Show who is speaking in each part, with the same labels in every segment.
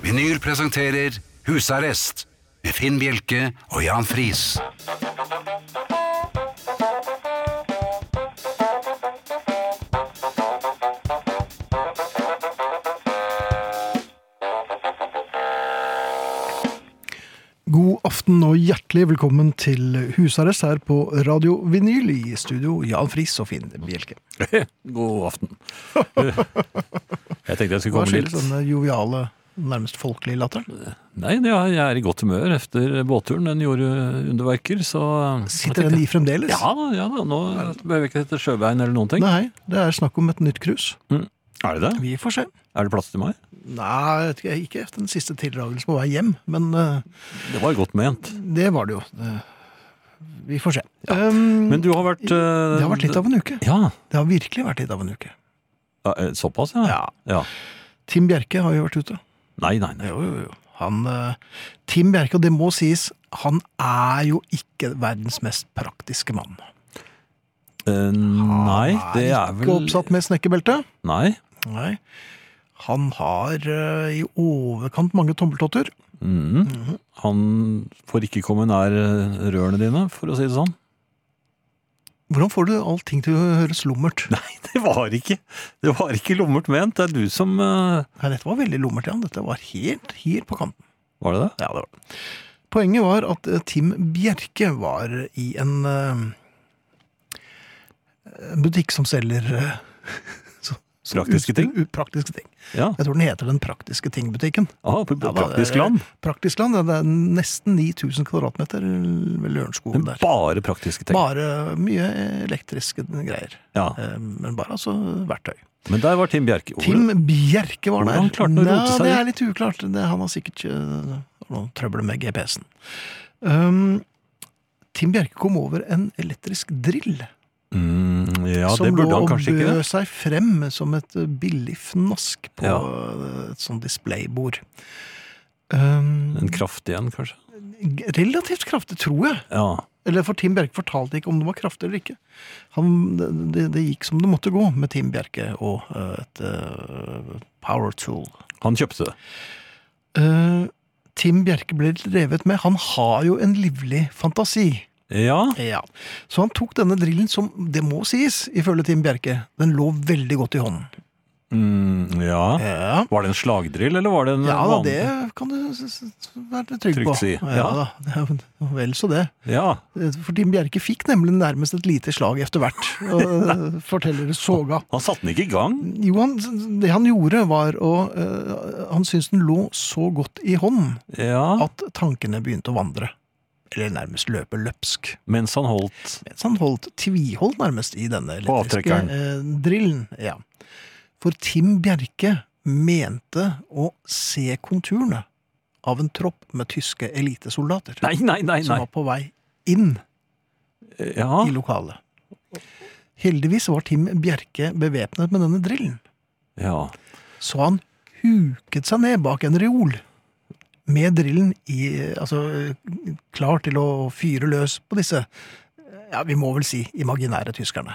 Speaker 1: Vinyl presenterer Husarrest med Finn Bjelke og Jan Friis.
Speaker 2: God aften og hjertelig velkommen til husarrest her på Radio Vinyl i studio Jan Friis og Finn Bjelke.
Speaker 3: God aften. Jeg tenkte jeg skulle
Speaker 2: Hva
Speaker 3: komme
Speaker 2: skjer sånn?
Speaker 3: litt
Speaker 2: denne joviale, nærmest folkelige latteren?
Speaker 3: Nei, det er- jeg er i godt humør etter båtturen. Den gjorde underverker, så
Speaker 2: Sitter den i fremdeles?
Speaker 3: Ja da, ja da. Nå behøver jeg ikke hete Sjøbein eller noen ting.
Speaker 2: Nei, det er snakk om et nytt cruise.
Speaker 3: Er det det?
Speaker 2: Vi får se.
Speaker 3: Er det plass til meg?
Speaker 2: Nei, jeg vet ikke, ikke efter den siste tildragelsen på vei hjem, men eh,
Speaker 3: Det var godt ment.
Speaker 2: det var det jo. Det- Vi får se. Um,
Speaker 3: Men du har vært eh,
Speaker 2: det har vært litt av en uke.
Speaker 3: Ja.
Speaker 2: Det har virkelig vært litt av en uke.
Speaker 3: Ja, eh, Såpass, ja.
Speaker 2: Ja. Tim Bjerke har jo vært ute.
Speaker 3: Nei, nei, nei.
Speaker 2: Jo, jo, jo. Han, eh, Tim Bjerke, og det må sies, han er jo ikke verdens mest praktiske mann.
Speaker 3: Eh, Nei, det er
Speaker 2: Ikke
Speaker 3: vel
Speaker 2: oppsatt med snekkerbelte.
Speaker 3: Nei.
Speaker 2: Nei. Han har eh, i overkant mange tommeltotter.
Speaker 3: Mhm. Han får ikke komme nær eh, rørene dine, for å si det sånn.
Speaker 2: Hvordan får du allting til å høres lummert?
Speaker 3: Nei, det var ikke Det var ikke lummert ment. Det er du som eh,
Speaker 2: Nei, dette var veldig lummert, Jan. Dette var helt, helt på kanten.
Speaker 3: Var det det?
Speaker 2: Ja, det var det. Poenget var at eh, Tim Bjerke var i en eh, butikk som selger eh, så- så
Speaker 3: Praktiske ting?
Speaker 2: ut- Praktiske ting.
Speaker 3: Ja.
Speaker 2: Jeg tror den heter Den praktiske ting-butikken.
Speaker 3: Ah, på
Speaker 2: Ja, da,
Speaker 3: praktisk
Speaker 2: det-
Speaker 3: land.
Speaker 2: Praktisk land, ja, det er nesten 9000 kvadratmeter ved Lørenskog
Speaker 3: Men
Speaker 2: der.
Speaker 3: bare praktiske ting.
Speaker 2: Bare mye elektriske greier.
Speaker 3: Ja.
Speaker 2: Eh, Men bare altså verktøy.
Speaker 3: Men der var Tim Bjerke. Hvor-
Speaker 2: Tim Bjerke var der.
Speaker 3: Hvordan klarte han å rote seg
Speaker 2: Nei, det
Speaker 3: dit?
Speaker 2: er litt uklart. Det, han har sikkert eh, noen trøbler med GPS-en. Um, Tim Bjerke kom over en elektrisk drill
Speaker 3: Mm, ja,
Speaker 2: som
Speaker 3: det
Speaker 2: lå
Speaker 3: burde han
Speaker 2: og
Speaker 3: kanskje ikke.
Speaker 2: bød
Speaker 3: det.
Speaker 2: seg frem som et eh, billig fnask på
Speaker 3: Ja.
Speaker 2: eh, et sånt displaybord. Um,
Speaker 3: En kraftig en, kanskje.
Speaker 2: relativt kraftig, tror jeg.
Speaker 3: Ja.
Speaker 2: Eller for Tim Bjerke fortalte ikke om det var kraftig eller ikke. Han, det, det gikk som det måtte gå med Tim Bjerke og eh, et eh, power tool.
Speaker 3: Han kjøpte det.
Speaker 2: Eh, Tim Bjerke ble revet med. Han har jo en livlig fantasi.
Speaker 3: Ja,
Speaker 2: Så han tok denne drillen som, det må sies, ifølge Tim Bjerke, den lå veldig godt i hånden.
Speaker 3: mm, ja.
Speaker 2: Ja,
Speaker 3: Var det en slagdrill, eller var det en
Speaker 2: ja da,
Speaker 3: vanlig-
Speaker 2: det kan du s- s- være trygg på.
Speaker 3: Trygt si.
Speaker 2: Ja,
Speaker 3: Ja.
Speaker 2: da, det er jo Vel så det.
Speaker 3: Ja.
Speaker 2: For Tim Bjerke fikk nemlig nærmest et lite slag etter hvert, eh, forteller Soga.
Speaker 3: Han satte den ikke i gang.
Speaker 2: Jo, han, det han gjorde var å eh, Han syntes den lå så godt i hånden
Speaker 3: Ja,
Speaker 2: at tankene begynte å vandre. Eller nærmest løpe løpsk.
Speaker 3: mens han holdt
Speaker 2: Mens han Sånn holdt tviholdt nærmest i denne
Speaker 3: På
Speaker 2: elektriske
Speaker 3: avtrekkeren.
Speaker 2: eh, drillen. Ja. For Tim Bjerke mente å se konturene av en tropp med tyske elitesoldater
Speaker 3: Nei, nei, nei.
Speaker 2: som
Speaker 3: nei.
Speaker 2: var på vei inn
Speaker 3: Ja.
Speaker 2: i lokalet. Heldigvis var Tim Bjerke bevæpnet med denne drillen.
Speaker 3: ja.
Speaker 2: Så han huket seg ned bak en reol med drillen i, altså, klar til å fyre løs på disse, ja, vi må vel si, imaginære tyskerne.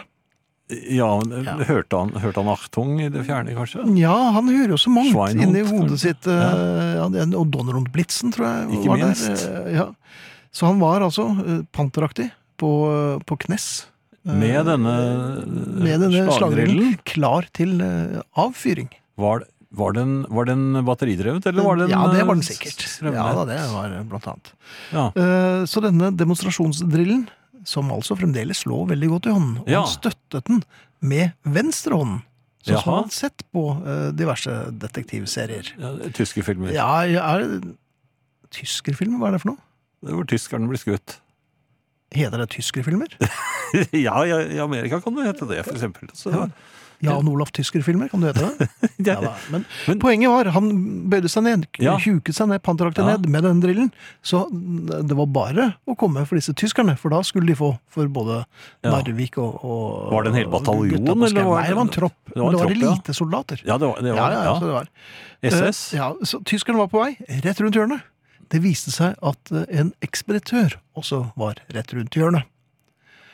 Speaker 3: ja men,
Speaker 2: Ja.
Speaker 3: Hørte, han, hørte han Achtung i det fjerne, kanskje?
Speaker 2: Ja, han hører jo så mangt
Speaker 3: Schweinhund,
Speaker 2: inni hodet
Speaker 3: kanskje.
Speaker 2: sitt. eh, Ja. det- og Donnerund Blitzen, tror jeg.
Speaker 3: Ikke
Speaker 2: var der,
Speaker 3: minst.
Speaker 2: eh, Ja. Så han var altså eh, panteraktig på, på knes. eh,
Speaker 3: Med denne,
Speaker 2: med denne slagdrillen
Speaker 3: slagdrillen?
Speaker 2: klar til eh, avfyring.
Speaker 3: Var, det- var, den, var den batteridrevet, eller var den
Speaker 2: ja, det var den
Speaker 3: eh,
Speaker 2: sikkert.
Speaker 3: strømnet?
Speaker 2: Ja, da, det var eh, blant annet.
Speaker 3: Ja.
Speaker 2: Eh, Så denne demonstrasjonsdrillen, som altså fremdeles lå veldig godt i hånden, og
Speaker 3: Ja.
Speaker 2: han støttet den med venstre hånden, sånn som
Speaker 3: Jaha.
Speaker 2: han hadde sett på eh, diverse detektivserier.
Speaker 3: Ja, tyske filmer.
Speaker 2: Ja, er det Tyskerfilmer, hva er det for noe?
Speaker 3: Det var tyskerne ble skutt.
Speaker 2: Heter det tyskerfilmer?
Speaker 3: ja, ja, i Amerika kan det hete det, for eksempel. Så,
Speaker 2: Jan Olaf Tysker-filmer, kan du hete det? ja, da. Men,
Speaker 3: Men-
Speaker 2: poenget var, han bøyde seg ned, k-
Speaker 3: Ja.
Speaker 2: huket seg ned, pantrakte
Speaker 3: Ja.
Speaker 2: ned med den drillen. Så det var bare å komme for disse tyskerne, for da skulle de få for både
Speaker 3: Ja.
Speaker 2: Narvik og, og
Speaker 3: Var det en hel bataljon,
Speaker 2: gutta på
Speaker 3: eller
Speaker 2: Skau.
Speaker 3: var
Speaker 2: Nei,
Speaker 3: det-
Speaker 2: det var en tropp.
Speaker 3: Det var
Speaker 2: men
Speaker 3: en
Speaker 2: det var
Speaker 3: tropp, ja.
Speaker 2: elitesoldater.
Speaker 3: Ja, det var, det
Speaker 2: Ja,
Speaker 3: var
Speaker 2: ja,
Speaker 3: ja,
Speaker 2: ja, så det var.
Speaker 3: SS.
Speaker 2: Eh, Ja, så tyskerne var på vei rett rundt hjørnet. Det viste seg at eh, en ekspeditør også var rett rundt hjørnet.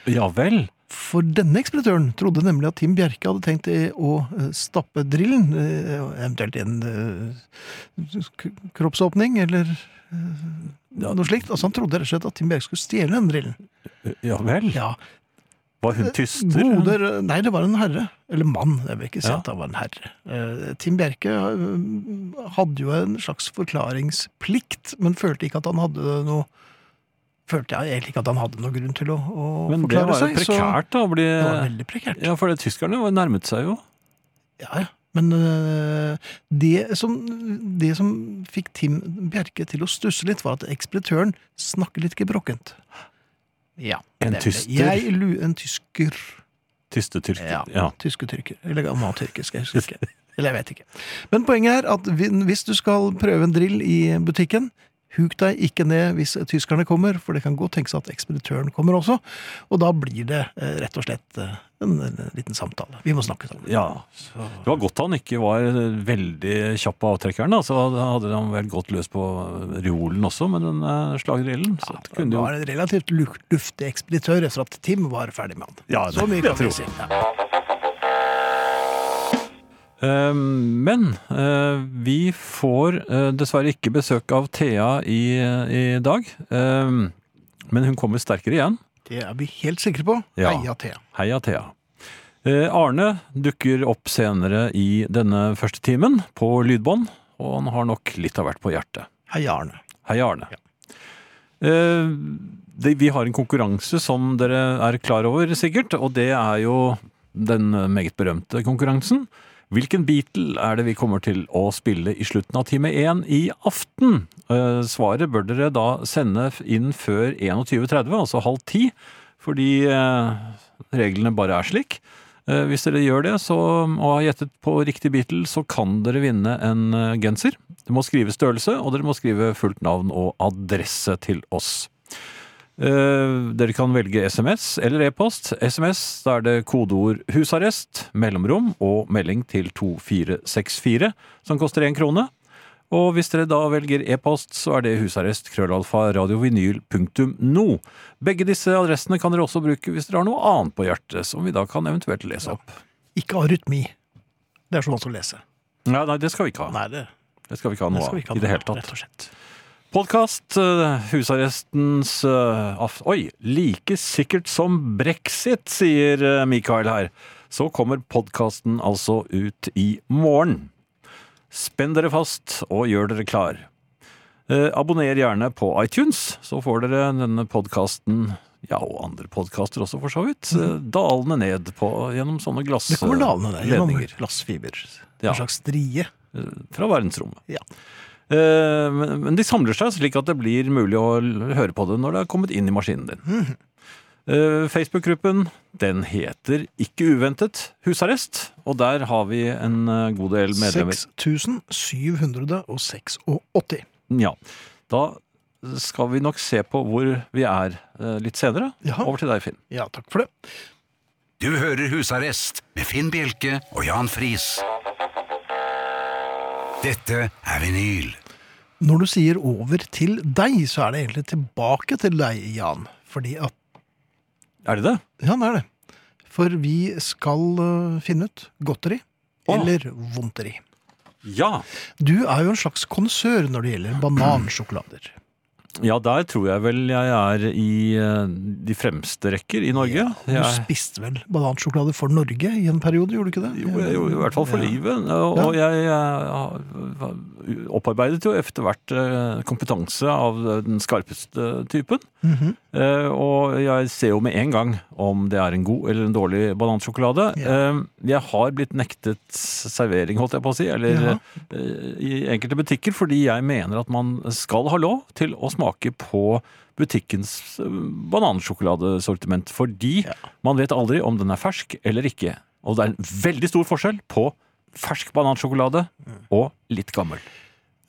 Speaker 3: Ja vel.
Speaker 2: For denne ekspeditøren trodde nemlig at Tim Bjerke hadde tenkt eh, å eh, stappe drillen, eh, eventuelt i en eh, k- kroppsåpning eller eh,
Speaker 3: Ja,
Speaker 2: noe slikt. Altså, han trodde rett og slett at Tim Bjerke skulle stjele den drillen.
Speaker 3: ja vel.
Speaker 2: Ja,
Speaker 3: Var hun tyster?
Speaker 2: Gode, rø- nei, det var en herre. Eller mann. Jeg vil ikke si
Speaker 3: Ja.
Speaker 2: at han var en herre. Eh, Tim Bjerke eh, hadde jo en slags forklaringsplikt, men følte ikke at han hadde noe Følte jeg egentlig ikke at han hadde noe grunn til å, å
Speaker 3: Men det
Speaker 2: forklare
Speaker 3: var jo
Speaker 2: seg. så-
Speaker 3: prekært, eh, da. å Bli,
Speaker 2: det var veldig prekært.
Speaker 3: ja, for det, tyskerne var- nærmet seg jo.
Speaker 2: Ja, ja. Men øh, det som, det som fikk Tim Bjerke til å stusse litt, var at ekspeditøren snakker litt gebrokkent. Ja.
Speaker 3: En
Speaker 2: nemlig.
Speaker 3: tyster.
Speaker 2: Jeg, lu- en tysker.
Speaker 3: Tystetyrker. Ja.
Speaker 2: Tyske tyrker. Eller gammel tyrkisk, jeg husker ikke. Eller jeg vet ikke. Men poenget er at vi- hvis du skal prøve en drill i butikken, huk deg ikke ned hvis tyskerne kommer, for det kan godt tenkes at ekspeditøren kommer også. Og da blir det eh, rett og slett eh, en, en liten samtale. Vi må snakke sammen.
Speaker 3: Ja. Det var godt han ikke var eh, veldig kjapp på avtrekkeren, da. Så hadde han vel gått løs på reolen også med den eh, slagdrillen. Så det kunne
Speaker 2: Det
Speaker 3: jo
Speaker 2: var en relativt lu- luftig ekspeditør etter at Tim var ferdig med han.
Speaker 3: Ja,
Speaker 2: Så
Speaker 3: det-
Speaker 2: mye kan
Speaker 3: jeg
Speaker 2: vi
Speaker 3: tror.
Speaker 2: si. Ja.
Speaker 3: Eh, Men eh, vi får eh, dessverre ikke besøk av Thea i, i dag. Eh, Men hun kommer sterkere igjen.
Speaker 2: Det er vi helt sikre på.
Speaker 3: Ja.
Speaker 2: Heia Thea.
Speaker 3: Heia Thea. Eh, Arne dukker opp senere i denne første timen på lydbånd, og han har nok litt av hvert på hjertet.
Speaker 2: Heia Arne.
Speaker 3: Hei, Arne. Eh, det, vi har en konkurranse som dere er klar over, sikkert. Og det er jo den meget berømte konkurransen. Hvilken Beatle er det vi kommer til å spille i slutten av time én i aften? Eh, svaret bør dere da sende f- inn før 21.30, altså halv ti. Fordi eh, reglene bare er slik. Eh, hvis dere gjør det så, og har gjettet på riktig Beatle, så kan dere vinne en eh, genser. Du må skrive størrelse, og dere må skrive fullt navn og adresse til oss. Eh, Dere kan velge SMS eller e-post. SMS, da er det kodeord 'husarrest', mellomrom og melding til 2464, som koster én krone. Og hvis dere da velger e-post, så er det husarrest krøllalfa radiovinyl.no. Begge disse adressene kan dere også bruke hvis dere har noe annet på hjertet, som vi da kan eventuelt lese opp.
Speaker 2: Ikke arytmi. Det er så vanskelig å lese.
Speaker 3: Nei, nei, det skal vi ikke ha.
Speaker 2: Nei, det,
Speaker 3: Det skal vi ikke ha
Speaker 2: det
Speaker 3: noe
Speaker 2: skal vi ikke
Speaker 3: av
Speaker 2: ha
Speaker 3: i det
Speaker 2: noe
Speaker 3: hele
Speaker 2: av,
Speaker 3: tatt.
Speaker 2: Rett og slett.
Speaker 3: Podkast, eh, husarrestens eh, af- Oi! Like sikkert som brexit, sier eh, Mikael her. Så kommer podkasten altså ut i morgen. Spenn dere fast og gjør dere klar. Eh, Abonner gjerne på iTunes, så får dere denne podkasten, ja, og andre podkaster også, for så vidt, eh, dalende ned på, gjennom sånne
Speaker 2: Det kommer dalende der gjennom
Speaker 3: glassledninger
Speaker 2: glassfiber. En
Speaker 3: Ja.
Speaker 2: slags strie.
Speaker 3: fra verdensrommet.
Speaker 2: Ja.
Speaker 3: Eh, Men men de samler seg slik at det blir mulig å l- høre på det når det har kommet inn i maskinen din.
Speaker 2: Mhm.
Speaker 3: Eh, Facebook-gruppen den heter Ikke uventet husarrest, og der har vi en eh, god del medlemmer.
Speaker 2: 6786.
Speaker 3: Ja. Da skal vi nok se på hvor vi er eh, litt senere.
Speaker 2: Ja.
Speaker 3: Over til deg, Finn.
Speaker 2: Ja, takk for det.
Speaker 1: Du hører Husarrest med Finn Bjelke og Jan Friis. Dette er vinyl.
Speaker 2: Når du sier over til deg, så er det egentlig tilbake til deg, Jan. Fordi at
Speaker 3: Er det det?
Speaker 2: Ja, det er det. For vi skal øh, finne ut godteri
Speaker 3: Åh.
Speaker 2: eller vondteri.
Speaker 3: Ja.
Speaker 2: Du er jo en slags konsør når det gjelder banansjokolader.
Speaker 3: Ja, der tror jeg vel jeg er i eh, de fremste rekker i Norge.
Speaker 2: Du
Speaker 3: Jeg-
Speaker 2: spiste vel banansjokolade for Norge i en periode, gjorde du ikke det?
Speaker 3: Jo, jeg gjorde i hvert fall for
Speaker 2: Ja.
Speaker 3: livet. Og og jeg, eh, opparbeidet jo etter hvert eh, kompetanse av den skarpeste typen.
Speaker 2: Mhm.
Speaker 3: Eh, Og jeg ser jo med en gang om det er en god eller en dårlig banansjokolade.
Speaker 2: Ja.
Speaker 3: Eh, Jeg har blitt nektet servering, holdt jeg på å si, eller
Speaker 2: Jaha.
Speaker 3: eh, i enkelte butikker, fordi jeg mener at man skal ha lov til å smake på butikkens eh, banansjokoladesortiment. Fordi
Speaker 2: Ja.
Speaker 3: man vet aldri om den er fersk eller ikke. Og det er en veldig stor forskjell på fersk banansjokolade
Speaker 2: Mm.
Speaker 3: og litt gammel.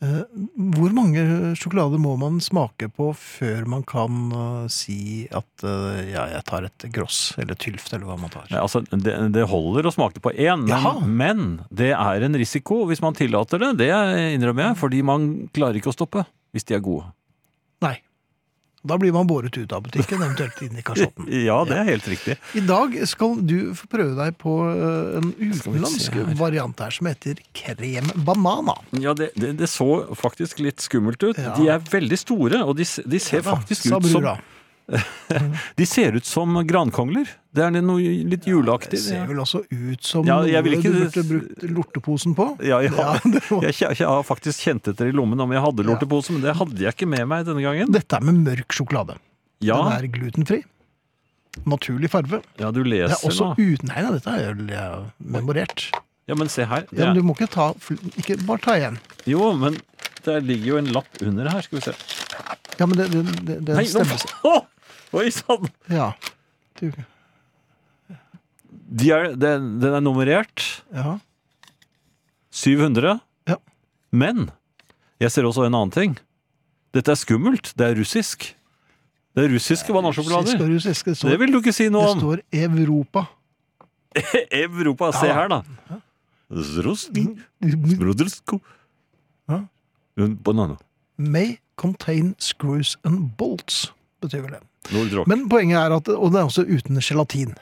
Speaker 2: Eh, Hvor mange eh, sjokolader må man smake på før man kan eh, si at eh, ja, jeg tar et gross eller tylft eller hva man tar?
Speaker 3: Nei, Altså, det, det holder å smake på én,
Speaker 2: Jaha.
Speaker 3: men, men det er en risiko hvis man tillater det. Det innrømmer jeg, fordi man klarer ikke å stoppe hvis de er gode.
Speaker 2: Nei. Da blir man båret ut av butikken, eventuelt inn i kasjotten.
Speaker 3: Ja, det er helt riktig.
Speaker 2: I dag skal du få prøve deg på eh, en
Speaker 3: Skal vi se
Speaker 2: utenlandsk
Speaker 3: her.
Speaker 2: variant her som heter krem banana.
Speaker 3: Ja, det, det, det så faktisk litt skummelt ut.
Speaker 2: Ja.
Speaker 3: De er veldig store, og de, s- de ser faktisk
Speaker 2: Sa
Speaker 3: ut som,
Speaker 2: brura.
Speaker 3: de ser ut som grankongler. Det er noe litt
Speaker 2: Det
Speaker 3: juleaktig.
Speaker 2: ser vel også ut som
Speaker 3: Ja, jeg vil
Speaker 2: noe
Speaker 3: ikke-
Speaker 2: du burde brukt lorteposen på.
Speaker 3: Ja, ja.
Speaker 2: det var-
Speaker 3: Jeg, kje- jeg har faktisk kjent etter i lommen om jeg hadde lortepose, men det hadde jeg ikke med meg denne gangen.
Speaker 2: Dette er med mørk sjokolade.
Speaker 3: Ja,
Speaker 2: Den er glutenfri. Naturlig farve.
Speaker 3: ja du
Speaker 2: Det er
Speaker 3: leser
Speaker 2: også
Speaker 3: nå.
Speaker 2: uten Nei, nei, dette er jo ja, memorert.
Speaker 3: Ja, men se her.
Speaker 2: Ja,
Speaker 3: Det
Speaker 2: men
Speaker 3: er,
Speaker 2: du må ikke ta fl- Ikke bare ta igjen.
Speaker 3: jo, men det ligger jo en lapp under her, skal vi se.
Speaker 2: Ja, men det, det, det, det
Speaker 3: Nei, nå,
Speaker 2: stemmer.
Speaker 3: Å! Oi sånn. sann!
Speaker 2: Ja. Du,
Speaker 3: De er- Den den er nummerert.
Speaker 2: ja.
Speaker 3: 700.
Speaker 2: Ja.
Speaker 3: Men jeg ser også en annen ting. Dette er skummelt. Det er russisk. Det er russiske banansjokolader.
Speaker 2: Skal du se, skal det,
Speaker 3: Det
Speaker 2: stå,
Speaker 3: vil du ikke si noe
Speaker 2: det
Speaker 3: om.
Speaker 2: står Europa.
Speaker 3: Europa. Se
Speaker 2: Ja.
Speaker 3: her, da. Zrosny, Brodrsko.
Speaker 2: Ja.
Speaker 3: En Banan.
Speaker 2: May contain screws and bolts, betyr vel det.
Speaker 3: Nordrock.
Speaker 2: Men poenget er at Og det er også uten gelatin.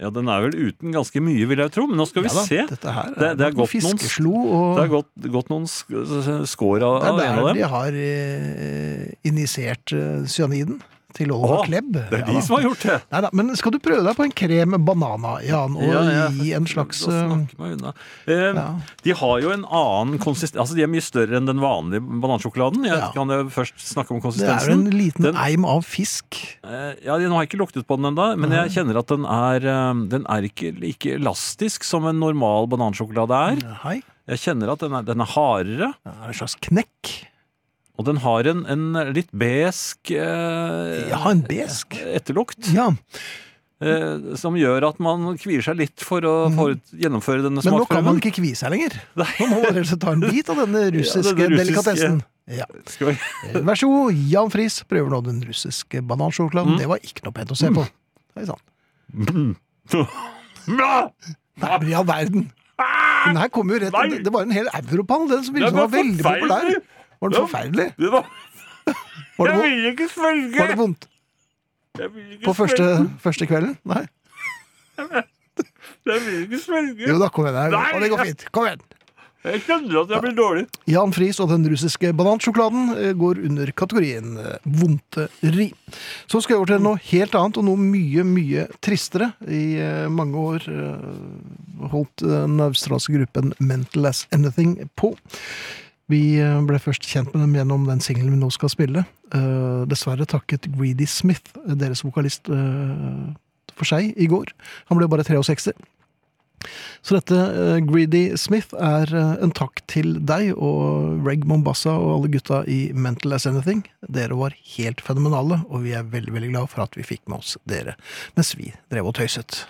Speaker 3: Ja, den er vel uten ganske mye, vil jeg tro. Men nå skal vi
Speaker 2: Ja da,
Speaker 3: se.
Speaker 2: Dette her
Speaker 3: Det- det er godt noen-
Speaker 2: fiskeslo og
Speaker 3: Det er gått, gått noen sk- skår av,
Speaker 2: Det er
Speaker 3: av en av
Speaker 2: der
Speaker 3: dem.
Speaker 2: de har eh, injisert eh, cyaniden til
Speaker 3: Åh,
Speaker 2: Oliver Klebb.
Speaker 3: Det er de som har gjort det.
Speaker 2: Neida, men skal du prøve deg på en krem banana, Jan, og
Speaker 3: Ja, ja.
Speaker 2: gi en slags
Speaker 3: Da
Speaker 2: eh,
Speaker 3: snakker meg unna. Eh,
Speaker 2: ja.
Speaker 3: De har jo en annen konsistens Altså, de er mye større enn den vanlige banansjokoladen. Jeg
Speaker 2: Ja.
Speaker 3: kan jo først snakke om
Speaker 2: Det er jo
Speaker 3: konsistensen.
Speaker 2: en liten
Speaker 3: Den-
Speaker 2: eim av fisk.
Speaker 3: Eh, Ja, Nå har jeg ikke luktet på den ennå, men jeg kjenner at den er, eh, den er ikke like elastisk som en normal banansjokolade er.
Speaker 2: Hei.
Speaker 3: Jeg kjenner at den er, den er hardere,
Speaker 2: Det er en slags knekk.
Speaker 3: og den har en, en litt besk eh,
Speaker 2: Ja, en besk.
Speaker 3: etterlukt.
Speaker 2: Ja,
Speaker 3: Eh, som gjør at man kvier seg litt for å for å gjennomføre denne
Speaker 2: Mm. Men nå kan man
Speaker 3: smaksprøven.
Speaker 2: ikke kvie seg lenger.
Speaker 3: Nei.
Speaker 2: Nå må man rett og slett ta en bit av denne russiske
Speaker 3: denne russiske-
Speaker 2: delikatessen. Ja.
Speaker 3: Skal vi
Speaker 2: Vær så god, Jan Friis prøver nå den russiske
Speaker 3: Mm.
Speaker 2: banansjokoladen. Det var ikke noe pent å se på. Hei sann. Nei, men i all verden! Den her kom jo rett
Speaker 3: Ah! Nei.
Speaker 2: Det var en hel europall, den som
Speaker 3: Den
Speaker 2: virket som
Speaker 3: var
Speaker 2: var veldig populær.
Speaker 3: forferdelig.
Speaker 2: Var den
Speaker 3: Den-
Speaker 2: forferdelig?
Speaker 3: Det var,
Speaker 2: Var det,
Speaker 3: jeg
Speaker 2: vo-
Speaker 3: vil ikke svelge!
Speaker 2: var det vondt
Speaker 3: Jeg vil ikke
Speaker 2: på første,
Speaker 3: svelge.
Speaker 2: første kvelden? Nei?
Speaker 3: Jeg vil ikke svelge.
Speaker 2: Jo da, kom igjen. her.
Speaker 3: Nei.
Speaker 2: Og det går fint. Kom igjen.
Speaker 3: Jeg kjenner at jeg blir dårlig.
Speaker 2: Jan Friis og den russiske banansjokoladen eh, går under kategorien eh, vondteri. Så skal jeg over til noe helt annet, og noe mye, mye tristere. I eh, mange år eh, holdt eh, den australske gruppen Mental As Anything på. Vi eh, ble først kjent med dem gjennom den singelen vi nå skal spille. Eh, Dessverre takket Greedy Smith, eh, deres vokalist, eh, for seg i går. Han ble bare 63. Så dette, eh, Greedy Smith, er eh, en takk til deg og Reg Mombassa og alle gutta i Mental As Anything. Dere var helt fenomenale, og vi er veldig veldig glad for at vi fikk med oss dere mens vi drev og tøyset.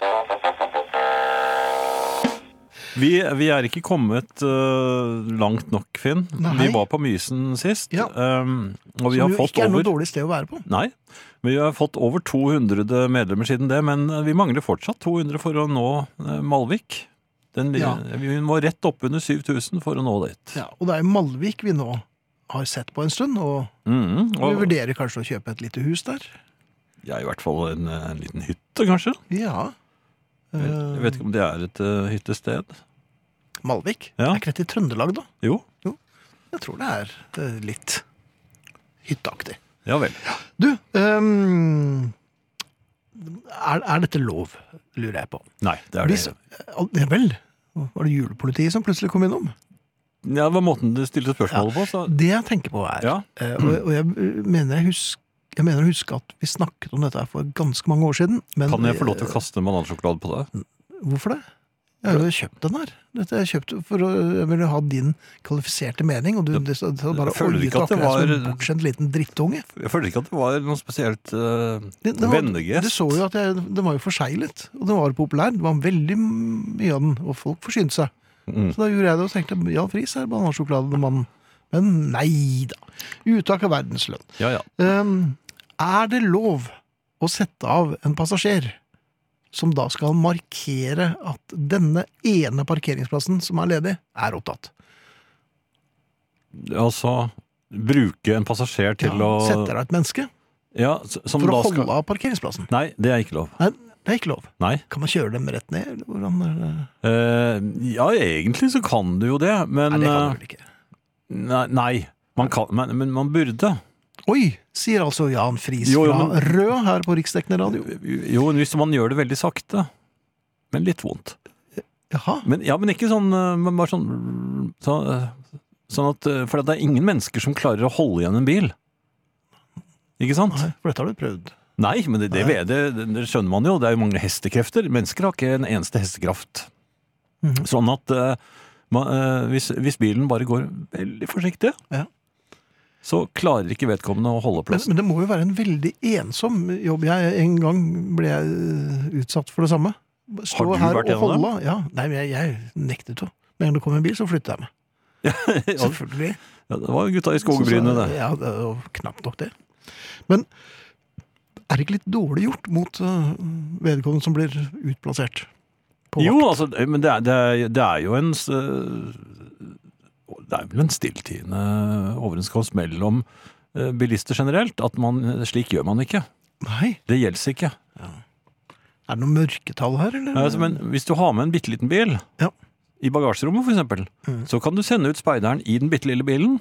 Speaker 3: Vi, vi er ikke kommet øh, langt nok, Finn.
Speaker 2: Nei.
Speaker 3: Vi var på Mysen sist,
Speaker 2: Ja.
Speaker 3: øhm, og vi
Speaker 2: Som
Speaker 3: har
Speaker 2: jo
Speaker 3: fått
Speaker 2: ikke er noe
Speaker 3: over
Speaker 2: dårlig sted å være på.
Speaker 3: Nei, vi har fått over 200 medlemmer siden det, men eh, vi mangler fortsatt 200 for å nå øh, Malvik. Den, li-
Speaker 2: Ja.
Speaker 3: Vi må rett opp under 7000 for å nå dit.
Speaker 2: Ja, og det er jo Malvik vi nå har sett på en stund, og
Speaker 3: Mhm,
Speaker 2: vi
Speaker 3: og
Speaker 2: vurderer kanskje å kjøpe et lite hus der.
Speaker 3: ja, i hvert fall en, øh, en liten hytte, kanskje.
Speaker 2: Ja. Eh.
Speaker 3: Jeg vet ikke om det er et øh, hyttested.
Speaker 2: Malvik?
Speaker 3: Ja.
Speaker 2: Er ikke dette i Trøndelag, da?
Speaker 3: Jo.
Speaker 2: Jeg tror det er eh, litt hytteaktig.
Speaker 3: Ja vel.
Speaker 2: Du, ehm, er, er dette lov, lurer jeg på.
Speaker 3: Nei, det er
Speaker 2: Hvis-
Speaker 3: det.
Speaker 2: Ja, det er vel. Var det julepolitiet som plutselig kom innom?
Speaker 3: Ja, det var måten du stilte spørsmålet på, så
Speaker 2: Det jeg tenker på er,
Speaker 3: Ja.
Speaker 2: eh, og, og jeg eh, mener jeg husker jeg mener å huske at vi snakket om dette her for ganske mange år siden. Men,
Speaker 3: Kan jeg få lov til å kaste en banansjokolade på deg?
Speaker 2: eh, Hvorfor det? Jeg har jo kjøpt den her. Dette er kjøpt for å jeg ville ha din kvalifiserte mening, og du det, så, så bare
Speaker 3: Føler du
Speaker 2: oljet
Speaker 3: ikke at det
Speaker 2: akkurat som en
Speaker 3: var-
Speaker 2: bortskjemt liten drittunge.
Speaker 3: Jeg føler ikke at det var noe spesielt uh,
Speaker 2: Det, det var,
Speaker 3: vennegest.
Speaker 2: du så jo at jeg, den var jo forseglet, og den var populær. Det var veldig mye av den, og folk forsynte seg.
Speaker 3: Mm.
Speaker 2: Så da gjorde jeg det og tenkte Jan Friis er banansjokolademannen. Men nei da. Uttak av verdenslønn.
Speaker 3: Ja, ja.
Speaker 2: Ehm, er det lov å sette av en passasjer som da skal markere at denne ene parkeringsplassen som er ledig, er opptatt?
Speaker 3: Altså bruke en passasjer til
Speaker 2: Ja,
Speaker 3: å
Speaker 2: Setter av et menneske
Speaker 3: ja, s- som
Speaker 2: for å
Speaker 3: da
Speaker 2: holde
Speaker 3: skal...
Speaker 2: av parkeringsplassen?
Speaker 3: Nei, det er ikke lov.
Speaker 2: Nei, det er ikke lov.
Speaker 3: Nei.
Speaker 2: Kan man kjøre dem rett ned? eller Hvordan, eh,
Speaker 3: Eh, ja, egentlig så kan du jo det, men
Speaker 2: nei, det kan
Speaker 3: eh,
Speaker 2: man vel ikke.
Speaker 3: Nei, nei. Man kan, men, men man burde.
Speaker 2: Oi, sier altså Jan Friis
Speaker 3: Jo, jo, men-
Speaker 2: fra Rød her på Riksdekkende radio.
Speaker 3: Jo, hvis man gjør det veldig sakte. Men litt vondt.
Speaker 2: Jaha.
Speaker 3: Men, ja, men ikke sånn eh, men bare sånn, så, eh, sånn at, eh, For det er ingen mennesker som klarer å holde igjen en bil. Ikke sant?
Speaker 2: Nei, for dette har du prøvd.
Speaker 3: Nei, men det, det,
Speaker 2: Nei.
Speaker 3: det, det skjønner man jo. Det er jo mange hestekrefter. Mennesker har ikke en eneste hestekraft.
Speaker 2: Mhm.
Speaker 3: Sånn at eh, man, eh, hvis, hvis bilen bare går veldig forsiktig,
Speaker 2: Ja.
Speaker 3: så klarer ikke vedkommende å holde
Speaker 2: Men,
Speaker 3: plassen.
Speaker 2: men det må jo være en veldig ensom jobb. Jeg, en gang ble jeg øh, utsatt for det samme. Stå
Speaker 3: Har du
Speaker 2: her
Speaker 3: vært
Speaker 2: og
Speaker 3: gjennom det?
Speaker 2: holde- Ja. Nei, men jeg, jeg nektet jo. Med en gang det kom en bil, så flyttet jeg meg. Selvfølgelig.
Speaker 3: Ja, det var jo gutta i skogbrynet, det.
Speaker 2: Ja, det var knapt nok det. Men er det ikke litt dårlig gjort mot øh, vedkommende som blir utplassert? På
Speaker 3: Jo,
Speaker 2: vakt?
Speaker 3: altså, men det er, det er, det er jo en s- Det er vel en stilltiende overenskomst mellom eh, bilister generelt at man, slik gjør man ikke.
Speaker 2: Nei.
Speaker 3: Det gjelder ikke.
Speaker 2: Er det noe mørketall her, eller?
Speaker 3: Altså, men hvis du har med en bitte liten bil
Speaker 2: Mm. Ja.
Speaker 3: i bagasjerommet, f.eks.,
Speaker 2: Mm.
Speaker 3: så kan du sende ut speideren i den bitte lille bilen.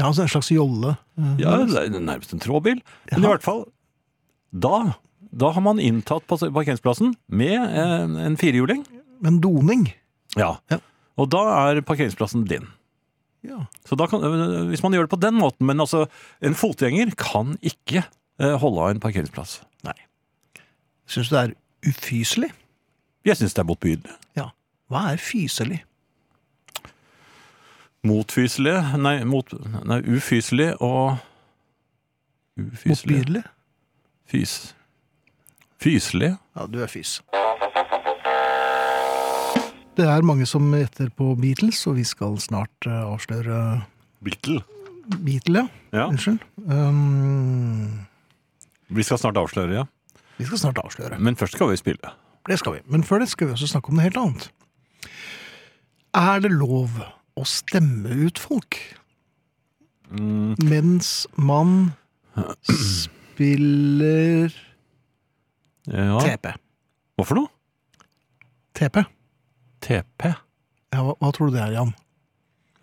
Speaker 2: Ja, altså en slags jolle. øh,
Speaker 3: Ja, det er nærmest en trådbil. Men
Speaker 2: Jaha.
Speaker 3: i hvert fall, da, da har man inntatt pass- parkeringsplassen med eh, en firehjuling.
Speaker 2: Men doning.
Speaker 3: Ja.
Speaker 2: Ja.
Speaker 3: Og da er parkeringsplassen din.
Speaker 2: Ja.
Speaker 3: Så da kan, øh, hvis man gjør det på den måten, men altså, en fotgjenger kan ikke øh, holde av en parkeringsplass.
Speaker 2: Syns du det er ufyselig?
Speaker 3: Jeg syns det er motbydelig.
Speaker 2: Ja. Hva er fyselig?
Speaker 3: Motfyselig, nei, mot, nei ufyselig og Ufyselig.
Speaker 2: Motbydelig?
Speaker 3: Fys. Fyselig.
Speaker 2: Ja, du er fys. Det er mange som gjetter på Beatles, og vi skal snart eh, avsløre
Speaker 3: Beatle.
Speaker 2: Beatle, ja.
Speaker 3: Ja,
Speaker 2: Unnskyld. Um,
Speaker 3: vi skal snart avsløre, ja.
Speaker 2: vi skal snart avsløre.
Speaker 3: Men først skal vi spille.
Speaker 2: Det skal vi. Men før det skal vi også snakke om noe helt annet. Er det lov å stemme ut folk
Speaker 3: Mm,
Speaker 2: mens man spiller
Speaker 3: Ja.
Speaker 2: TP?
Speaker 3: Hva for noe?
Speaker 2: TP?
Speaker 3: TP.
Speaker 2: Ja, hva, hva tror du det er, Jan?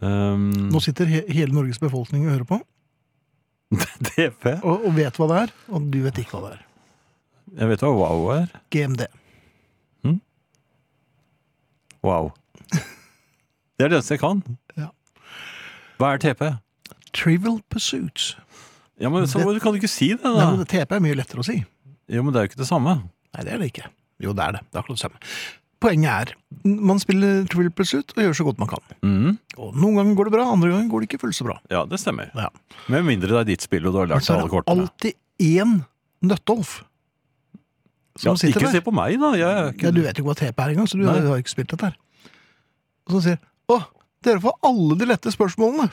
Speaker 3: Um,
Speaker 2: Nå sitter he hele Norges befolkning og hører på,
Speaker 3: TP?
Speaker 2: og, og vet hva det er, og du vet ikke hva det er.
Speaker 3: Jeg vet hva wow er.
Speaker 2: GMD.
Speaker 3: Wow. Det er det eneste jeg kan.
Speaker 2: Ja.
Speaker 3: Hva er TP?
Speaker 2: Trivial Pursuits.
Speaker 3: Ja, men så kan du ikke si det,
Speaker 2: Nei,
Speaker 3: da.
Speaker 2: men TP er mye lettere å si.
Speaker 3: Jo, men det er jo ikke det samme.
Speaker 2: Nei, det er det ikke. Jo, det er det. Det er akkurat det samme. Poenget er, n- man spiller Trivial Pursuit og gjør så godt man kan.
Speaker 3: Mm.
Speaker 2: Og noen ganger går det bra, andre ganger går det ikke fullt så bra.
Speaker 3: Ja, det stemmer.
Speaker 2: Ja.
Speaker 3: Med mindre det er ditt spill og du har lært
Speaker 2: Så
Speaker 3: deg
Speaker 2: er
Speaker 3: alle
Speaker 2: det
Speaker 3: kortene.
Speaker 2: alltid én Nøttolf som
Speaker 3: Ja,
Speaker 2: sitter
Speaker 3: ikke
Speaker 2: der.
Speaker 3: se på meg, da. Jeg er
Speaker 2: Ja,
Speaker 3: ikke...
Speaker 2: du vet jo ikke hva TP er engang, så du
Speaker 3: Nei.
Speaker 2: har har jo ikke spilt dette her. Og så sier Å, dere får alle de lette spørsmålene!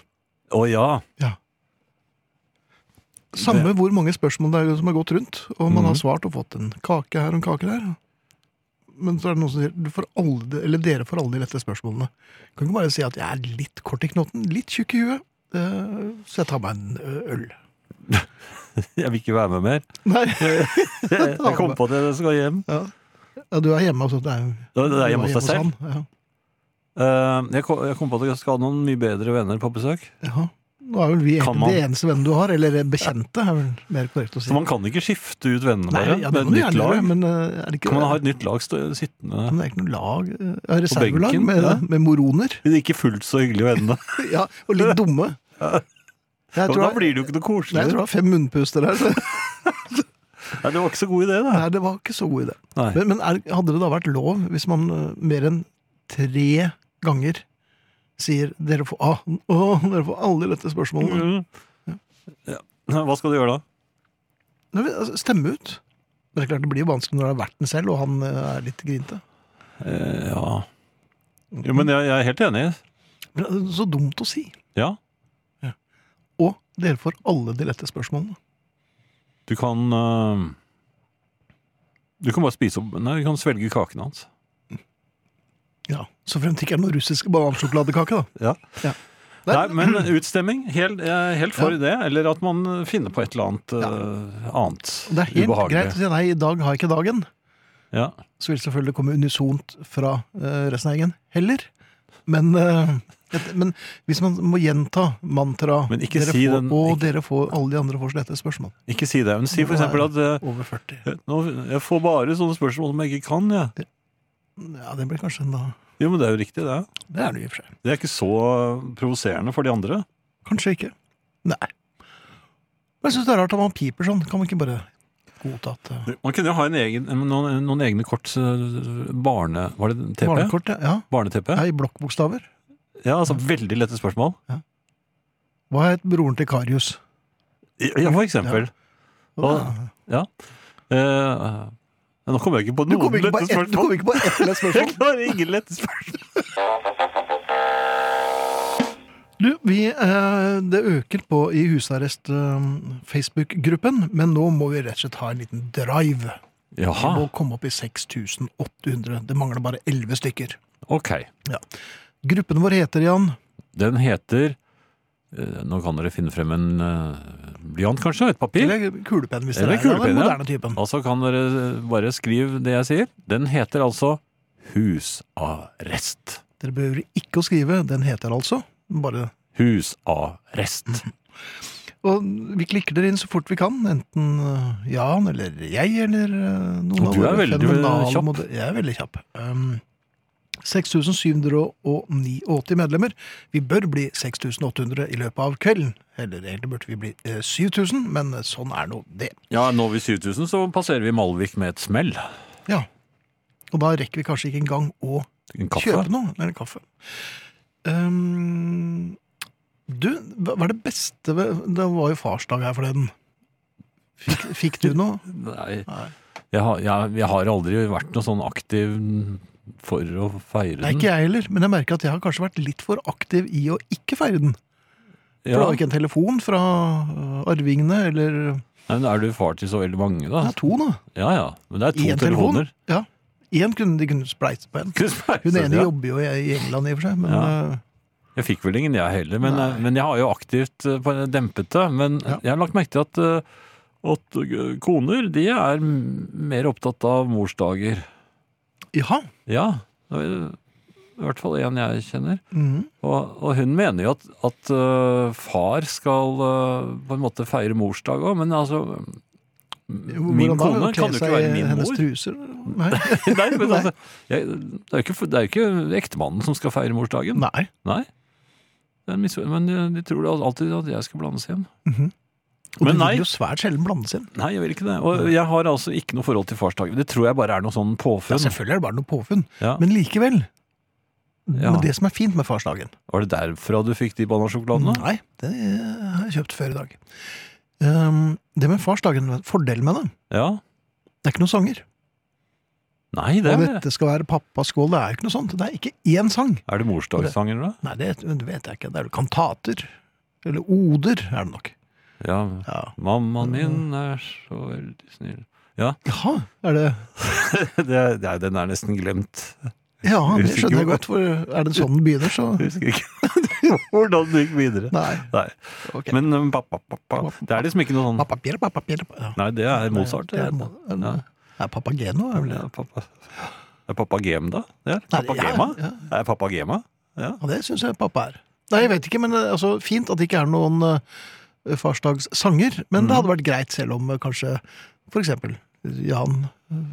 Speaker 3: Å ja.
Speaker 2: Samme hvor mange spørsmål det er som har gått rundt, og man
Speaker 3: Mhm.
Speaker 2: har svart og fått en kake her og en kake der. Men så er det noen som sier du får alle de, eller dere får alle de lette spørsmålene. Kan ikke bare si at jeg er litt kort i knotten, litt tjukk i huet, eh, så jeg tar meg en ø, øl.
Speaker 3: Jeg vil ikke være med mer.
Speaker 2: Nei.
Speaker 3: Jeg kom på det, jeg skal hjem.
Speaker 2: Ja. ja, du er hjemme, altså. Det er,
Speaker 3: Det er- det er hjemme hos
Speaker 2: du
Speaker 3: deg selv.
Speaker 2: han, Ja.
Speaker 3: Eh, Jeg kom jeg kom på at jeg skal ha noen mye bedre venner på besøk.
Speaker 2: Jaha. Nå er vel vi
Speaker 3: Kan man-
Speaker 2: egentlig de eneste vennene du har, eller bekjente, er vel mer korrekt å si.
Speaker 3: Så man kan ikke skifte ut vennene bare
Speaker 2: ja, det
Speaker 3: med
Speaker 2: må
Speaker 3: et
Speaker 2: du
Speaker 3: nytt
Speaker 2: gjerne gjøre,
Speaker 3: lag.
Speaker 2: men eh, er det ikke,
Speaker 3: Kan man ha et nytt lag stå- sittende
Speaker 2: men det er ikke noe lag? eh, ja, Reservelag
Speaker 3: benken,
Speaker 2: med,
Speaker 3: ja.
Speaker 2: med moroner?
Speaker 3: Men Ikke fullt så hyggelige vennene.
Speaker 2: Ja, og litt dumme. Jeg
Speaker 3: Ja, men
Speaker 2: tror
Speaker 3: da
Speaker 2: jeg,
Speaker 3: blir det jo ikke noe
Speaker 2: nei, jeg tror
Speaker 3: koselig.
Speaker 2: jeg har fem munnpuster her. Så,
Speaker 3: Nei, det var ikke så god idé, det.
Speaker 2: nei, det var ikke så god idé.
Speaker 3: Nei.
Speaker 2: Men, men er, hadde det da vært lov hvis man eh, mer enn tre ganger sier dere får, ah, åh, dere får alle lette
Speaker 3: Mm.
Speaker 2: spørsmålene.
Speaker 3: Ja. Hva skal du gjøre da?
Speaker 2: Nei, men, altså, Stemme ut. Men det er klart det blir jo vanskelig når det er verten selv, og han eh, er litt grinte.
Speaker 3: Eh, ja Jo, men jeg, jeg er helt enig.
Speaker 2: Men altså, Så dumt å si.
Speaker 3: Ja.
Speaker 2: Og dere får alle de lette spørsmålene.
Speaker 3: Du kan eh, Du kan bare spise opp Nei, du kan svelge kaken hans.
Speaker 2: Ja, Så fremt det ikke er noe russisk banansjokoladekake, da.
Speaker 3: Ja.
Speaker 2: Ja.
Speaker 3: Nei, men utstemming. Helt, jeg er helt for det. Eller at man finner på et eller annet eh, annet
Speaker 2: Det er helt
Speaker 3: ubehagelig.
Speaker 2: greit å si nei, i dag har jeg ikke dagen.
Speaker 3: Ja.
Speaker 2: Så vil det selvfølgelig komme unisont fra eh, resten av gjengen heller. Men, eh, et, men hvis man må gjenta mantraet
Speaker 3: Men ikke
Speaker 2: dere
Speaker 3: si
Speaker 2: får,
Speaker 3: den-
Speaker 2: Og
Speaker 3: ikke-
Speaker 2: dere får alle de andre får så lette spørsmål.
Speaker 3: Ikke si det. Men si
Speaker 2: Nå
Speaker 3: for
Speaker 2: er
Speaker 3: eksempel at eh,
Speaker 2: Over 40.
Speaker 3: nå, Jeg får bare sånne spørsmål som jeg ikke kan, jeg.
Speaker 2: Ja, det blir kanskje enda
Speaker 3: Jo, men det er jo riktig, det.
Speaker 2: Det er det i og for seg.
Speaker 3: Det er ikke så provoserende for de andre.
Speaker 2: Kanskje ikke. Nei. Men jeg syns det er rart at man piper sånn. Kan man ikke bare godta at eh,
Speaker 3: Man kunne jo ha en egen, noen, noen egne kort eh, barne... Var det TP?
Speaker 2: Barnekort, ja. ja.
Speaker 3: Barne-TP?
Speaker 2: ja I blokkbokstaver.
Speaker 3: Ja, altså veldig lette spørsmål.
Speaker 2: Hva het broren til Karius?
Speaker 3: Ja, for eksempel. Hva- Ja. Eh, nå kommer jeg ikke på
Speaker 2: Du
Speaker 3: noen
Speaker 2: kom ikke på
Speaker 3: lette
Speaker 2: ett du kom
Speaker 3: spørsmål.
Speaker 2: ikke på ett lett
Speaker 3: Jeg
Speaker 2: spørsmål.
Speaker 3: klarer ingen lette spørsmål.
Speaker 2: Du, vi, eh, det øker på i husarrest-Facebook-gruppen, men nå må vi rett og slett ha en liten drive. Vi
Speaker 3: Jaha,
Speaker 2: må komme opp i 6800. Det mangler bare 11 stykker.
Speaker 3: ok.
Speaker 2: Gruppen vår heter, Jan
Speaker 3: Den heter eh, Nå kan dere finne frem en eh, blyant, kanskje? Et papir?
Speaker 2: Eller kulepenn, hvis
Speaker 3: Eller
Speaker 2: dere er av den
Speaker 3: kulepenn, ja.
Speaker 2: moderne typen.
Speaker 3: Altså kan dere eh, bare skrive det jeg sier. Den heter altså husarrest.
Speaker 2: Dere behøver ikke å skrive. Den heter altså bare
Speaker 3: Husarrest.
Speaker 2: Og vi klikker dere inn så fort vi kan. Enten eh, Jan eller jeg eller eh, noen
Speaker 3: Og du
Speaker 2: av
Speaker 3: er
Speaker 2: våre
Speaker 3: veldig eh,
Speaker 2: fenomenale
Speaker 3: kjapp.
Speaker 2: mode- Jeg er veldig kjapp. Um, 6789 medlemmer. Vi bør bli 6800 i løpet av kvelden. Eller egentlig burde vi bli eh, 7000, men eh, sånn er nå det.
Speaker 3: Ja, når vi 7000, så passerer vi Malvik med et smell.
Speaker 2: Ja. Og da rekker vi kanskje ikke engang å
Speaker 3: En kaffe.
Speaker 2: kjøpe noe. Eller kaffe. Um, du, hva hva er det beste ved Det var jo farsdag her forleden. Fikk, fikk du noe?
Speaker 3: Nei.
Speaker 2: Nei.
Speaker 3: Jeg har, jeg, jeg har aldri vært noe sånn aktiv for å feire
Speaker 2: Nei,
Speaker 3: den.
Speaker 2: ikke jeg heller, men jeg merker at jeg har kanskje vært litt for aktiv i å ikke feire den. For det
Speaker 3: ja.
Speaker 2: var ikke en telefon fra øh, arvingene, eller
Speaker 3: Nei, men er du far til så veldig mange, da?
Speaker 2: Det er to, da.
Speaker 3: Ja ja. Men det er to
Speaker 2: Én telefon.
Speaker 3: telefoner.
Speaker 2: Ja. Én kunne de kunne spleise på en. Hun ene
Speaker 3: ja.
Speaker 2: jobber jo i i England, i og for seg, men
Speaker 3: Ja.
Speaker 2: øh,
Speaker 3: Jeg fikk vel ingen, jeg heller. Men, eh,
Speaker 2: Nei.
Speaker 3: men jeg har jo aktivt eh, på- dempet det. Men
Speaker 2: Ja.
Speaker 3: jeg har lagt merke til at, eh, at eh, koner de er m- mer opptatt av morsdager.
Speaker 2: Jaha.
Speaker 3: Ja. det er I hvert fall en jeg kjenner.
Speaker 2: Mhm.
Speaker 3: Og, og hun mener jo at, at øh, far skal øh, på en måte feire morsdag òg, men altså m- Min
Speaker 2: Hvordan da?
Speaker 3: kone
Speaker 2: Kle
Speaker 3: kan jo
Speaker 2: seg
Speaker 3: ikke være
Speaker 2: i
Speaker 3: min
Speaker 2: hennes
Speaker 3: mor.
Speaker 2: truser? Nei.
Speaker 3: Nei, men altså, jeg, det er jo ikke, det er jo ikke ektemannen som skal feire morsdagen.
Speaker 2: Nei.
Speaker 3: Nei. Det er en misfor- Men de, de tror al- alltid at jeg skal blandes igjen.
Speaker 2: Og
Speaker 3: Men
Speaker 2: du
Speaker 3: nei.
Speaker 2: vil jo svært sjelden blandes inn.
Speaker 3: Nei, jeg vil ikke det. Og jeg har altså ikke noe forhold til farsdagen. Det tror jeg bare er noe sånn
Speaker 2: Ja,
Speaker 3: påfunn.
Speaker 2: selvfølgelig er det bare noe påfunn,
Speaker 3: Ja.
Speaker 2: men likevel.
Speaker 3: Ja.
Speaker 2: Men det som er fint med farsdagen
Speaker 3: Var det derfra du fikk de banansjokoladene?
Speaker 2: Nei, det har jeg kjøpt før i dag. Ehm, det med farsdagen, fordelen med det,
Speaker 3: Ja.
Speaker 2: det er ikke noen sanger.
Speaker 3: Nei, det
Speaker 2: Og
Speaker 3: er det.
Speaker 2: dette skal være pappas skål, det er jo ikke noe sånt. Det er ikke én sang.
Speaker 3: Er det morsdagssanger, da?
Speaker 2: Nei, det vet jeg ikke. Det er jo kantater. Eller oder, er det nok.
Speaker 3: Ja.
Speaker 2: Ja.
Speaker 3: Mammaen min er så veldig snill.
Speaker 2: Jaha, er det
Speaker 3: det, er- det er, den er nesten glemt.
Speaker 2: Ja, det
Speaker 3: Husker
Speaker 2: skjønner jeg
Speaker 3: ikke.
Speaker 2: godt, for er det sånn den begynner, så
Speaker 3: Jeg husker ikke hvordan det gikk videre.
Speaker 2: Nei.
Speaker 3: Nei.
Speaker 2: Ok.
Speaker 3: Men um, pa, pa, pa, pa. det er liksom ikke noe sånn
Speaker 2: Papapir, papapir ja.
Speaker 3: Nei, det er Mozart.
Speaker 2: Det er,
Speaker 3: det.
Speaker 2: mo- en-
Speaker 3: Ja.
Speaker 2: er Papageno, er vel det?
Speaker 3: Ja, pappa. Er pappa Gem, da? Det er
Speaker 2: Nei,
Speaker 3: pappa
Speaker 2: ja,
Speaker 3: Gema?
Speaker 2: ja.
Speaker 3: Er pappa Gema? Ja.
Speaker 2: Ja, det syns jeg pappa er. Nei, jeg vet ikke, men eh, altså, fint at det ikke er noen eh, farsdagssanger. Men
Speaker 3: Mm.
Speaker 2: det hadde vært greit selv om eh, kanskje for eksempel Jan eh,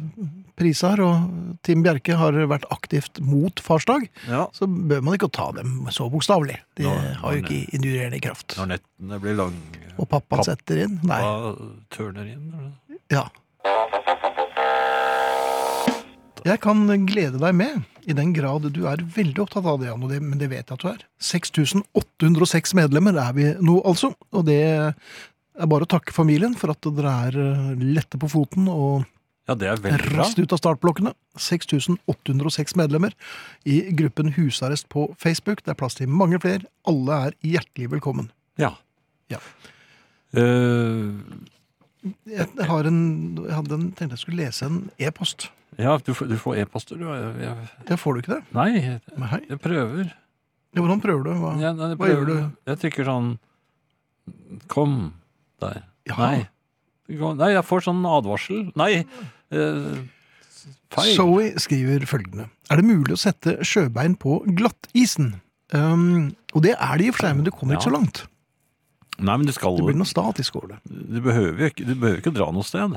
Speaker 2: Prisar og Tim Bjerke har vært aktivt mot farsdag.
Speaker 3: ja.
Speaker 2: Så bør man ikke ta dem så bokstavelig. De
Speaker 3: Nå-
Speaker 2: har jo ikke indurerende kraft.
Speaker 3: Når nettene blir lange,
Speaker 2: Og pappa
Speaker 3: Papp-
Speaker 2: setter inn. Nei.
Speaker 3: hva tørner inn? eller?
Speaker 2: Ja. Jeg kan glede deg med, i den grad du er veldig opptatt av det, Jan, og det, men det vet jeg at du er. 6806 medlemmer er vi nå, altså. Og det er bare å takke familien for at dere er eh, lette på foten og
Speaker 3: Ja, det er veldig bra.
Speaker 2: raskt ut av startblokkene. 6806 medlemmer i gruppen Husarrest på Facebook. Det er plass til mange flere. Alle er hjertelig velkommen.
Speaker 3: Ja.
Speaker 2: Ja.
Speaker 3: Eh,
Speaker 2: Jeg, har en, jeg hadde en, tenkte jeg skulle lese en e-post.
Speaker 3: ja, du får, du får e-poster, du. Jeg, jeg,
Speaker 2: Det får du ikke det?
Speaker 3: nei, jeg-
Speaker 2: Nei.
Speaker 3: jeg prøver.
Speaker 2: Ja, Hvordan prøver du? Hva?
Speaker 3: Jeg, nei, jeg
Speaker 2: Hva gjør
Speaker 3: prøver.
Speaker 2: du?
Speaker 3: Jeg trykker sånn Kom der.
Speaker 2: Ja.
Speaker 3: Nei. Kom- Nei, jeg får sånn advarsel. Nei! eh, feil.
Speaker 2: Zoe skriver følgende. Er det mulig å sette sjøbein på glattisen? Um, og det er det i og for seg, men du kommer ikke
Speaker 3: Ja.
Speaker 2: så langt.
Speaker 3: Nei, men du skal
Speaker 2: Det blir noe statisk over det.
Speaker 3: Du behøver jo ikke, du behøver ikke dra noe sted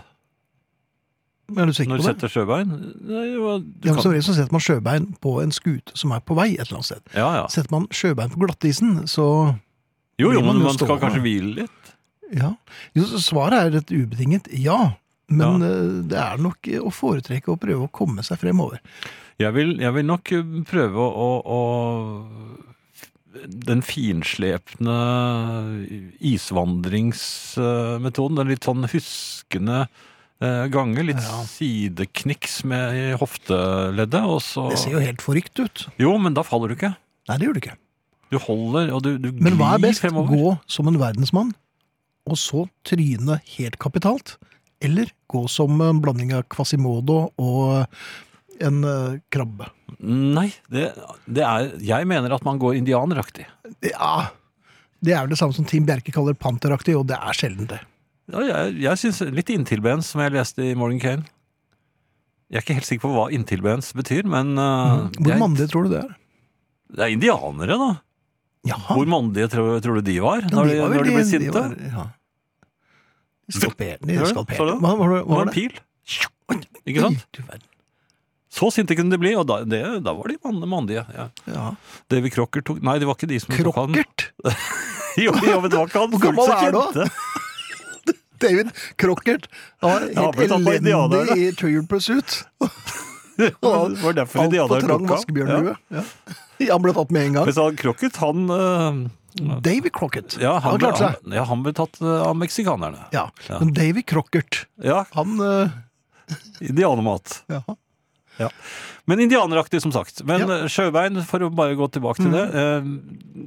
Speaker 2: Er du sikker
Speaker 3: når
Speaker 2: på
Speaker 3: du
Speaker 2: det?
Speaker 3: setter sjøbein. Nei, jo, du
Speaker 2: Ja, men
Speaker 3: kan-
Speaker 2: som regel så setter man sjøbein på en skute som er på vei et eller annet sted.
Speaker 3: Ja, ja.
Speaker 2: Setter man sjøbein på glattisen, så
Speaker 3: Jo, jo,
Speaker 2: blir man
Speaker 3: men
Speaker 2: jo
Speaker 3: man skal
Speaker 2: stående.
Speaker 3: kanskje hvile litt.
Speaker 2: ja. Jo, så svaret er et ubetinget ja. Men eh, det er nok å foretrekke å prøve å komme seg fremover.
Speaker 3: Jeg vil, jeg vil nok eh, prøve å, å, å Den finslepne isvandringsmetoden. Den litt sånn huskende eh, gange. Litt
Speaker 2: Ja.
Speaker 3: sidekniks med i hofteleddet, og så
Speaker 2: Det ser jo helt forrykt ut.
Speaker 3: Jo, men da faller du ikke.
Speaker 2: Nei, det gjør det ikke.
Speaker 3: Du holder, og du, du
Speaker 2: Men hva er best?
Speaker 3: fremover.
Speaker 2: Gå som en verdensmann, og så tryne helt kapitalt? Eller gå som en blanding av Quasimodo og en eh, krabbe?
Speaker 3: Nei, det, det er Jeg mener at man går indianeraktig.
Speaker 2: Ja, det er vel det samme som Tim Bjerke kaller panteraktig, og det er sjelden det.
Speaker 3: Ja, jeg, jeg synes litt inntilbens, som jeg leste i Morgan Kane. Jeg er ikke helt sikker på hva inntilbens betyr, men uh,
Speaker 2: Mhm. Hvor
Speaker 3: jeg-
Speaker 2: mandig tror du det er?
Speaker 3: det er indianere, da.
Speaker 2: Jaha,
Speaker 3: Hvor mandige tror, tror du de var
Speaker 2: Ah. ja,
Speaker 3: når de,
Speaker 2: var
Speaker 3: når de
Speaker 2: veldig-
Speaker 3: ble
Speaker 2: de
Speaker 3: sinte?
Speaker 2: var- ja. Skalper, de
Speaker 3: Hør du?
Speaker 2: skalper.
Speaker 3: Så du det?
Speaker 2: Hva var det?
Speaker 3: det
Speaker 2: Hva
Speaker 3: var
Speaker 2: var
Speaker 3: en
Speaker 2: det?
Speaker 3: pil. Ikke sant?
Speaker 2: Oi, du verden.
Speaker 3: Så sinte kunne de bli, og da, det, da var de man- mandige. Ja.
Speaker 2: Ja.
Speaker 3: Davy Crocker tok Nei, det var ikke de som tok han.
Speaker 2: Krokkert!
Speaker 3: Jo, jo, men det var ikke han.
Speaker 2: Hvor gammel
Speaker 3: Fullt så
Speaker 2: er du, da?
Speaker 3: kjente.
Speaker 2: David Crockert var
Speaker 3: Ja,
Speaker 2: helt
Speaker 3: ble tatt på indianerne.
Speaker 2: elendig i Trial Pursuit.
Speaker 3: Det var derfor
Speaker 2: Altfor
Speaker 3: indianere
Speaker 2: trang
Speaker 3: tok han.
Speaker 2: vaskebjørnlue. Ja. Han ble tatt med en
Speaker 3: Ja.
Speaker 2: gang.
Speaker 3: Mens han Crockett, han øh,
Speaker 2: Davy Crockett.
Speaker 3: Ja, han,
Speaker 2: han
Speaker 3: ble,
Speaker 2: klarte seg.
Speaker 3: han, ja, han ble tatt øh, av meksikanerne.
Speaker 2: Ja.
Speaker 3: Ja.
Speaker 2: Men Davy Crockert,
Speaker 3: Ja,
Speaker 2: han eh,
Speaker 3: indianermat.
Speaker 2: ja.
Speaker 3: Men indianeraktig, som sagt. Men
Speaker 2: Ja.
Speaker 3: eh, sjøbein, for å bare gå tilbake til det. eh,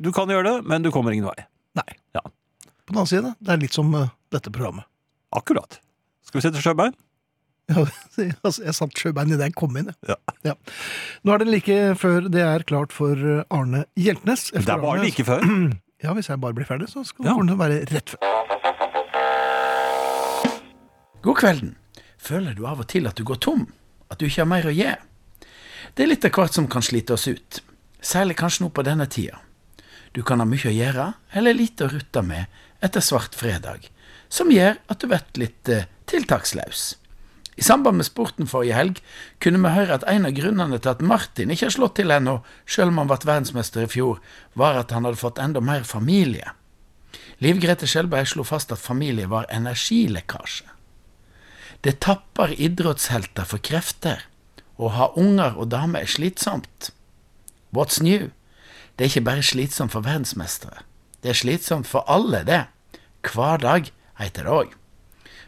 Speaker 3: Du kan gjøre det, men du kommer ingen vei.
Speaker 2: Nei.
Speaker 3: Ja.
Speaker 2: På den annen side, det er litt som eh, dette programmet.
Speaker 3: Akkurat. Skal vi se til sjøbein?
Speaker 2: Ja, altså, jeg satt sjøbein idet jeg kom inn. jeg.
Speaker 3: Ja.
Speaker 2: Ja. Nå er det like før det er klart for eh, Arne Hjeltnes.
Speaker 3: Det
Speaker 2: Efter
Speaker 3: var
Speaker 2: Arne-
Speaker 3: like før.
Speaker 2: Ja, Hvis jeg bare blir ferdig, så skal
Speaker 3: Ja.
Speaker 2: det være rett før.
Speaker 4: God kvelden. Føler du av og til at du går tom? At du ikke har mer å gi? Det er litt av hvert som kan slite oss ut. Særlig kanskje nå på denne tida. Du kan ha mye å gjøre, eller lite å rutte med etter svart fredag, som gjør at du blir litt eh, tiltakslaus. I samband med sporten forrige helg kunne vi høre at en av grunnene til at Martin ikke har slått til ennå, selv om han ble verdensmester i fjor, var at han hadde fått enda mer familie. Liv Grete Skjelberg slo fast at familie var energilekkasje. Det tapper idrettshelter for krefter. Å ha unger og damer er slitsomt. What's new? Det er ikke bare slitsomt for verdensmestere. Det er slitsomt for alle, det. Hver dag, heter det òg.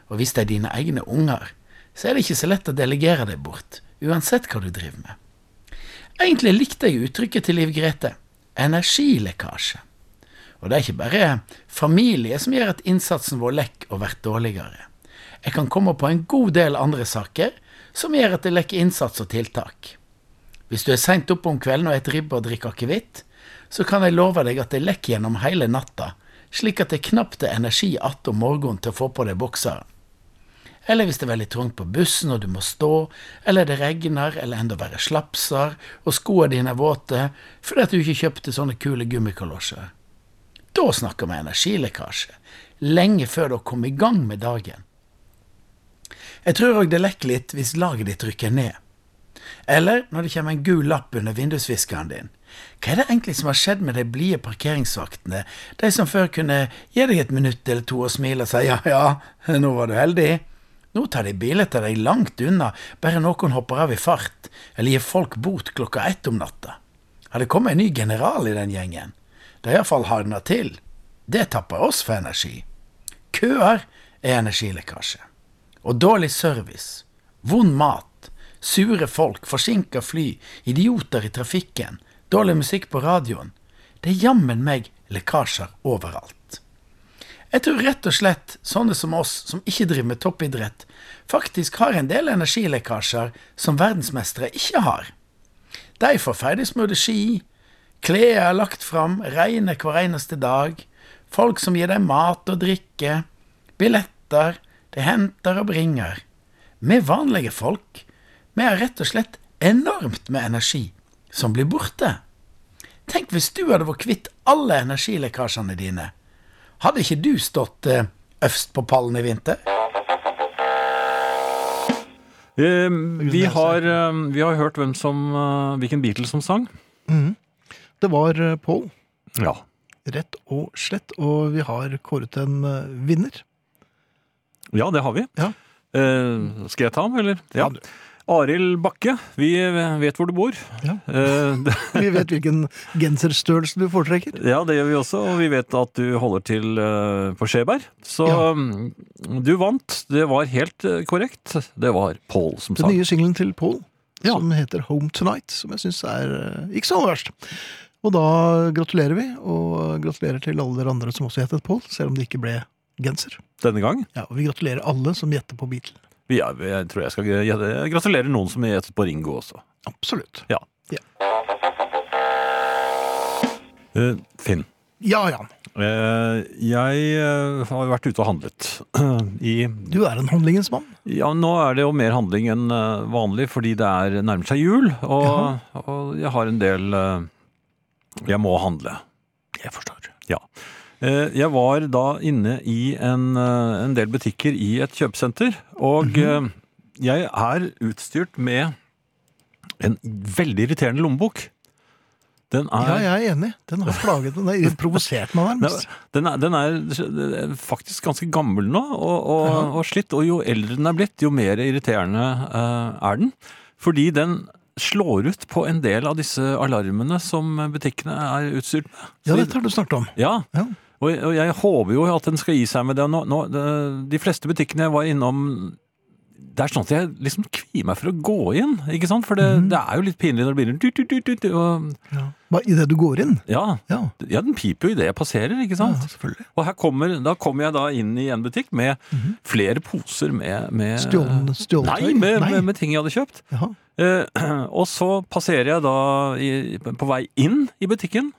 Speaker 4: Og hvis det er dine egne unger, så er det ikke så lett å delegere deg bort, uansett hva du driver med. Egentlig likte jeg uttrykket til Liv Grete energilekkasje. Og det er ikke bare familie som gjør at innsatsen vår lekker og blir dårligere. Jeg kan komme på en god del andre saker som gjør at det lekker innsats og tiltak. Hvis du er seint oppe om kvelden og et ribbe og drikker akevitt, så kan jeg love deg at det lekker gjennom hele natta, slik at det knapt er energi att om morgenen til å få på deg bokseren. Eller hvis det er veldig trangt på bussen og du må stå, eller det regner, eller enda verre slapser, og skoene dine er våte fordi at du ikke kjøpte sånne kule gummikolosjer. Da snakker vi energilekkasje, lenge før du har kommet i gang med dagen. Jeg tror òg det lekker litt hvis laget ditt rykker ned. Eller når det kommer en gul lapp under vindusviskeren din. Hva er det egentlig som har skjedd med de blide parkeringsvaktene, de som før kunne gi deg et minutt eller to og smile og si ja ja, nå var du heldig, Nå tar de bilder av deg langt unna, bare noen hopper av i fart, eller gir folk bot klokka ett om natta. Har det kommet en ny general i den gjengen? Det har iallfall hardna til. Det tapper oss for energi. Køer er energilekkasje. Og dårlig service. Vond mat. Sure folk, forsinka fly, idioter i trafikken, dårlig musikk på radioen. Det er jammen meg lekkasjer overalt. Jeg tror rett og slett sånne som oss, som ikke driver med toppidrett, faktisk har en del energilekkasjer som verdensmestere ikke har. De får ferdigsmurte ski, klær er lagt fram, regner hver eneste dag, folk som gir dem mat og drikke, billetter, de henter og bringer. Vi vanlige folk, vi har rett og slett enormt med energi som blir borte. Tenk hvis du hadde vært kvitt alle energilekkasjene dine. Hadde ikke du stått eh, øverst på pallen i vinter?
Speaker 3: Eh, vi, har, eh, vi har hørt hvem som, eh, hvilken Beatles som sang.
Speaker 2: Det var eh, Paul,
Speaker 3: Ja.
Speaker 2: rett og slett, og vi har kåret en eh, vinner.
Speaker 3: Ja, det har vi.
Speaker 2: Ja.
Speaker 3: Eh, skal jeg ta ham, eller? Ja. Arild Bakke, vi eh, vet hvor du bor.
Speaker 2: Ja.
Speaker 3: Eh, det,
Speaker 2: Vi vet hvilken genserstørrelse du foretrekker.
Speaker 3: ja, det gjør vi også, og vi vet at du holder til eh, på Skjeberg. Så
Speaker 2: Ja.
Speaker 3: mm, du vant. Det var helt eh, korrekt. Det var Pål som
Speaker 2: Den
Speaker 3: sang.
Speaker 2: nye singelen til Paul,
Speaker 3: Ja.
Speaker 2: som heter Home Tonight, som jeg syns er eh, ikke så aller verst. Og da gratulerer vi, og gratulerer til alle dere andre som også gjettet Paul, selv om det ikke ble genser.
Speaker 3: Denne gang.
Speaker 2: Ja, og vi gratulerer alle som gjetter på Beatle.
Speaker 3: Ja, jeg tror jeg skal jeg gratulerer noen som gjettet på Ringo også.
Speaker 2: Absolutt.
Speaker 3: Ja.
Speaker 2: Ja.
Speaker 3: Eh, Finn,
Speaker 2: Ja, Jan.
Speaker 3: eh, jeg eh, har vært ute og handlet. I,
Speaker 2: Du er en handlingens mann.
Speaker 3: ja, nå er det jo mer handling enn eh, vanlig, fordi det er nærmer seg jul, og, og jeg har en del eh, Jeg må handle.
Speaker 2: Jeg forstår.
Speaker 3: Ja. Eh, Jeg var da inne i en, eh, en del butikker i et kjøpesenter, og
Speaker 2: Mhm.
Speaker 3: eh, jeg er utstyrt med en veldig irriterende lommebok. Den er,
Speaker 2: Ja, jeg er enig. Den har plaget meg. Den har provosert meg
Speaker 3: Den,
Speaker 2: nærmest.
Speaker 3: den er, den er faktisk ganske gammel nå, og, og, og slitt. Og jo eldre den er blitt, jo mer irriterende eh, er den. Fordi den slår ut på en del av disse alarmene som butikkene er utstyrt med.
Speaker 2: Ja,
Speaker 3: Så-
Speaker 2: dette har du snakket om.
Speaker 3: ja.
Speaker 2: Ja.
Speaker 3: Og, og jeg håper jo at den skal gi seg med det. Nå, nå, det- de fleste butikkene jeg var innom det er sånn at jeg liksom kvier meg for å gå inn, ikke sant? For det,
Speaker 2: Mhm.
Speaker 3: det er jo litt pinlig når det begynner tut, tut, tut, tut, og,
Speaker 2: Bare idet du går inn.
Speaker 3: ja,
Speaker 2: Ja.
Speaker 3: ja, den piper jo idet jeg passerer, ikke
Speaker 2: ja,
Speaker 3: sant?
Speaker 2: selvfølgelig.
Speaker 3: Og her kommer, da kommer jeg da inn i en butikk med
Speaker 2: Mhm.
Speaker 3: flere poser med, med
Speaker 2: Stjålen- stjålet
Speaker 3: Eh, Nei,
Speaker 2: tøy?
Speaker 3: med,
Speaker 2: Nei.
Speaker 3: Med, med ting jeg hadde kjøpt.
Speaker 2: Jaha.
Speaker 3: Eh, og så passerer jeg da i, på vei inn i butikken.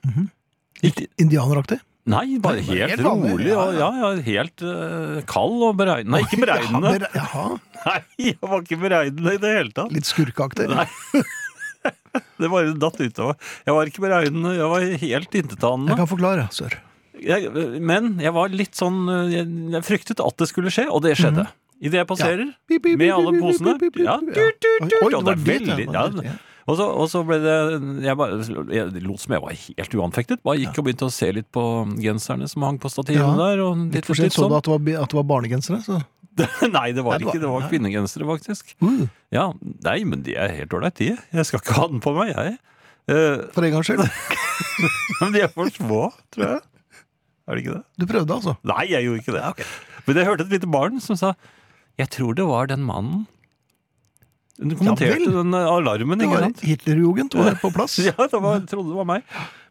Speaker 3: Ikke,
Speaker 2: Indianeraktig?
Speaker 3: Nei, bare
Speaker 2: Mhm. Nei,
Speaker 3: helt,
Speaker 2: helt vanlig,
Speaker 3: rolig.
Speaker 2: ja,
Speaker 3: og, ja, ja, helt eh, kald og beregnende. Nei, ikke beregnende.
Speaker 2: Ja, Jaha.
Speaker 3: Nei, jeg var ikke beregnende i det hele tatt.
Speaker 2: Litt skurkeaktig?
Speaker 3: Nei. Det bare datt utover. Jeg var ikke beregnende, jeg var helt
Speaker 2: Jeg
Speaker 3: intetanende.
Speaker 2: kan forklare, sør.
Speaker 3: Jeg, men jeg var litt sånn eh, jeg, jeg fryktet at det skulle skje, og det skjedde. Idet jeg passerer,
Speaker 2: Mhm. Pip, pip,
Speaker 3: med
Speaker 2: pip,
Speaker 3: alle
Speaker 2: pip, pip,
Speaker 3: posene
Speaker 2: pip, pip,
Speaker 3: ja,
Speaker 2: pip,
Speaker 3: tut,
Speaker 2: ja.
Speaker 3: tut, tut,
Speaker 2: Oi, det
Speaker 3: og
Speaker 2: var
Speaker 3: det er
Speaker 2: dit, ja,
Speaker 3: veldig,
Speaker 2: det
Speaker 3: ja.
Speaker 2: var dit, ja.
Speaker 3: Og så, og så ble det Jeg, bare, jeg lot som jeg var helt uanfektet. Bare gikk og begynte å se litt på genserne som hang på
Speaker 2: Ja.
Speaker 3: stativene der. Og litt,
Speaker 2: Litt
Speaker 3: og
Speaker 2: for sent
Speaker 3: litt
Speaker 2: så
Speaker 3: sånn.
Speaker 2: du at det var, bi- at det var barnegensere? Så.
Speaker 3: Nei, det var
Speaker 2: Nei, det var-
Speaker 3: ikke. Det var
Speaker 2: nei.
Speaker 3: kvinnegensere, faktisk.
Speaker 2: Uh,
Speaker 3: Ja, Nei, men de er helt ålreit, de. Jeg skal ikke ha den på meg, jeg. Eh,
Speaker 2: for en gangs skyld.
Speaker 3: Men de er for små, tror jeg. Er det ikke det?
Speaker 2: Du prøvde, altså?
Speaker 3: Nei, jeg gjorde ikke det. Men jeg hørte et lite barn som sa Jeg tror det var den mannen. Hun kommenterte
Speaker 2: vel.
Speaker 3: den eh, alarmen,
Speaker 2: Det
Speaker 3: ikke
Speaker 2: var
Speaker 3: sant?
Speaker 2: Hitlerjugend var på plass.
Speaker 3: Ja, det var, jeg trodde det var meg.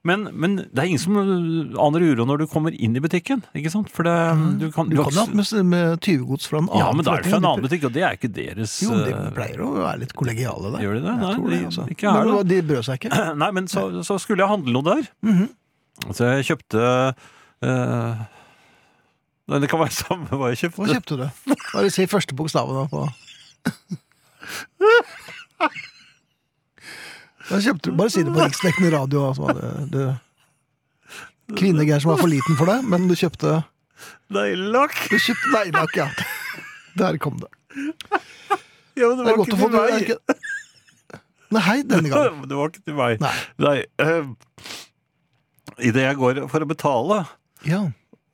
Speaker 3: Men, men det er ingen som eh, aner uro når du kommer inn i butikken, ikke sant? For det, du
Speaker 2: Mm.
Speaker 3: kan,
Speaker 2: Du kan jo ha hatt med, med tyvegods fra en annen
Speaker 3: Ja, men da er det fra en
Speaker 2: forretning.
Speaker 3: annen butikk, og det er ikke deres
Speaker 2: Jo, de
Speaker 3: eh,
Speaker 2: pleier å være litt kollegiale der.
Speaker 3: Gjør de det?
Speaker 2: Jeg
Speaker 3: Nei,
Speaker 2: tror
Speaker 3: de-
Speaker 2: altså.
Speaker 3: ikke her,
Speaker 2: Men
Speaker 3: da.
Speaker 2: De brød seg ikke.
Speaker 3: Nei, men så, så skulle jeg handle noe der.
Speaker 2: Mhm.
Speaker 3: Så jeg kjøpte eh, Nei, det kan være samme hva jeg
Speaker 2: Hva
Speaker 3: kjøpte.
Speaker 2: kjøpte du? Bare si første bokstavene på Hva kjøpte du? Bare si det på riksdekkende radio. Altså, hva det, det. Kvinnegeir som var for liten for deg, men du kjøpte
Speaker 3: Neglelakk!
Speaker 2: Du kjøpte neglelakk, ja. Der kom det.
Speaker 3: Ja, men det
Speaker 2: Det er
Speaker 3: var
Speaker 2: godt
Speaker 3: ikke
Speaker 2: å få
Speaker 3: til meg.
Speaker 2: det er ikke- Nei, hei denne gangen.
Speaker 3: Det var ikke til meg.
Speaker 2: Nei.
Speaker 3: Nei. eh, i Idet jeg går for å betale,
Speaker 2: Ja.